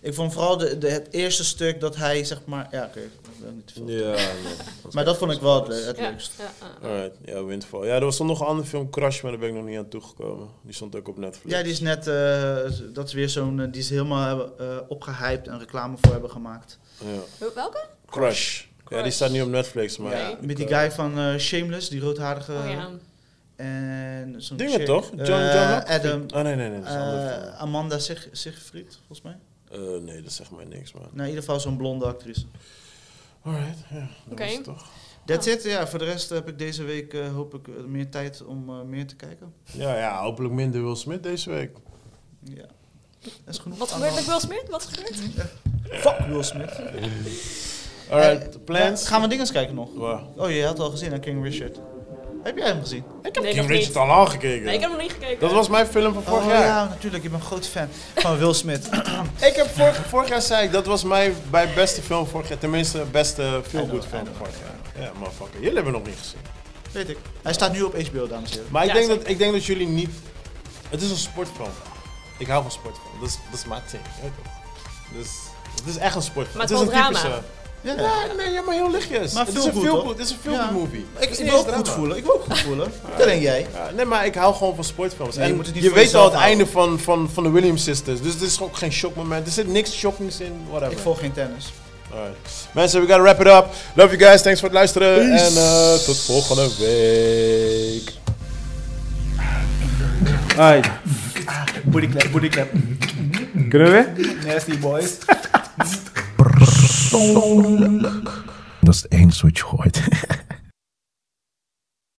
D: Ik vond vooral de, de, het eerste stuk dat hij zeg maar. Ja, oké. dat wil ik niet te veel.
A: ja. ja
D: Maar dat vond ik wel het, le- het
B: Ja,
D: leukst.
B: ja, ja.
A: Alright, ja, Windfall. Ja, er was nog een andere film, Crash, maar daar ben ik nog niet aan toegekomen. Die stond ook op Netflix.
D: Ja, die is net. eh, dat is weer zo'n. eh, die is helemaal eh opgehyped en reclame voor hebben gemaakt.
A: Ja.
B: Wel- Welke?
A: Crash. Ja, die
B: Crash.
A: staat niet op Netflix, maar...
B: Ja.
A: ik,
D: Met die
A: eh,
D: guy van eh, Shameless, die roodharige.
B: Oh ja.
D: En zo'n.
A: Dingen
D: chick,
A: toch? John,
D: eh,
A: John Locke?
D: Adam.
A: Oh, nee, nee, nee. Dat is een andere
D: eh,
A: film.
D: Amanda Sig- Sigfried, volgens mij.
A: Eh, nee, dat zegt mij niks, man.
D: Nou, in ieder geval zo'n blonde actrice.
A: Alright, ja. Dat
B: Oké.
A: was het toch.
D: That's
B: Oh.
D: it, ja. Voor de rest heb ik deze week eh, hoop ik eh, meer tijd om eh, meer te kijken.
A: Ja, ja, hopelijk minder Will Smith deze week.
D: Ja. Dat is genoeg.
B: Wat gebeurt met Will Smith? Wat gebeurt?
D: Fuck Will Smith.
A: Alright,
D: Eh,
A: plans?
D: ja, gaan we dingen eens kijken nog?
A: Waar?
D: Oh, je had al gezien, hè, King Richard. Heb jij hem gezien?
A: Ik heb
B: Nee,
A: King
B: nog
A: Richard al
B: niet.
A: aangekeken.
B: Nee, ik heb nog niet gekeken.
A: Dat was mijn film van vorig
D: oh
A: jaar.
D: ja, natuurlijk. Ik ben een groot fan van Will Smith.
A: Ik heb vorig, vorig jaar zei ik, dat was mijn, mijn beste film vorig jaar. Tenminste, beste feelgood film vorig jaar. Ja, motherfucker. Jullie hebben hem nog niet gezien.
D: Weet ik. Hij staat nu op HBO, dames en heren.
A: Maar ik,
B: Ja,
A: denk
B: zeker.
A: dat, ik denk dat jullie niet... Het is een sportfilm. Ik hou van sportfilm. Dat is, dat is mijn ding. je weet toch? Dus het is echt een sportfilm.
B: Maar het
A: is
B: is
A: een
B: wel
A: typische...
B: drama.
D: Ja.
A: Ja, nee, ja, maar heel lichtjes.
D: Maar
A: het, is een
D: feelgood,
A: feel
D: toch?
A: het is een feel-good
D: Ja.
A: movie.
D: Ik,
A: Het is
D: ik
A: niet
D: wil
A: eens
D: ook goed
A: drama.
D: voelen. Ik wil ook goed voelen. Dat denk jij.
A: Ja, nee, maar ik hou gewoon van sportfilms.
D: Ja, je
A: en
D: moet het
A: je,
D: niet voor
A: weet al het
D: jezelf
A: einde van, van, van de Williams Sisters. Dus dit is ook geen shockmoment. Er zit niks shockings in, whatever.
D: Ik volg geen tennis.
A: Alright. Mensen, we gotta wrap it up. Love you guys. Thanks voor het luisteren. En eh, tot volgende week.
G: Alright,
D: Booty clap, booty clap.
G: kunnen we?
D: Nasty boys.
H: Dat is het enige wat je gooit.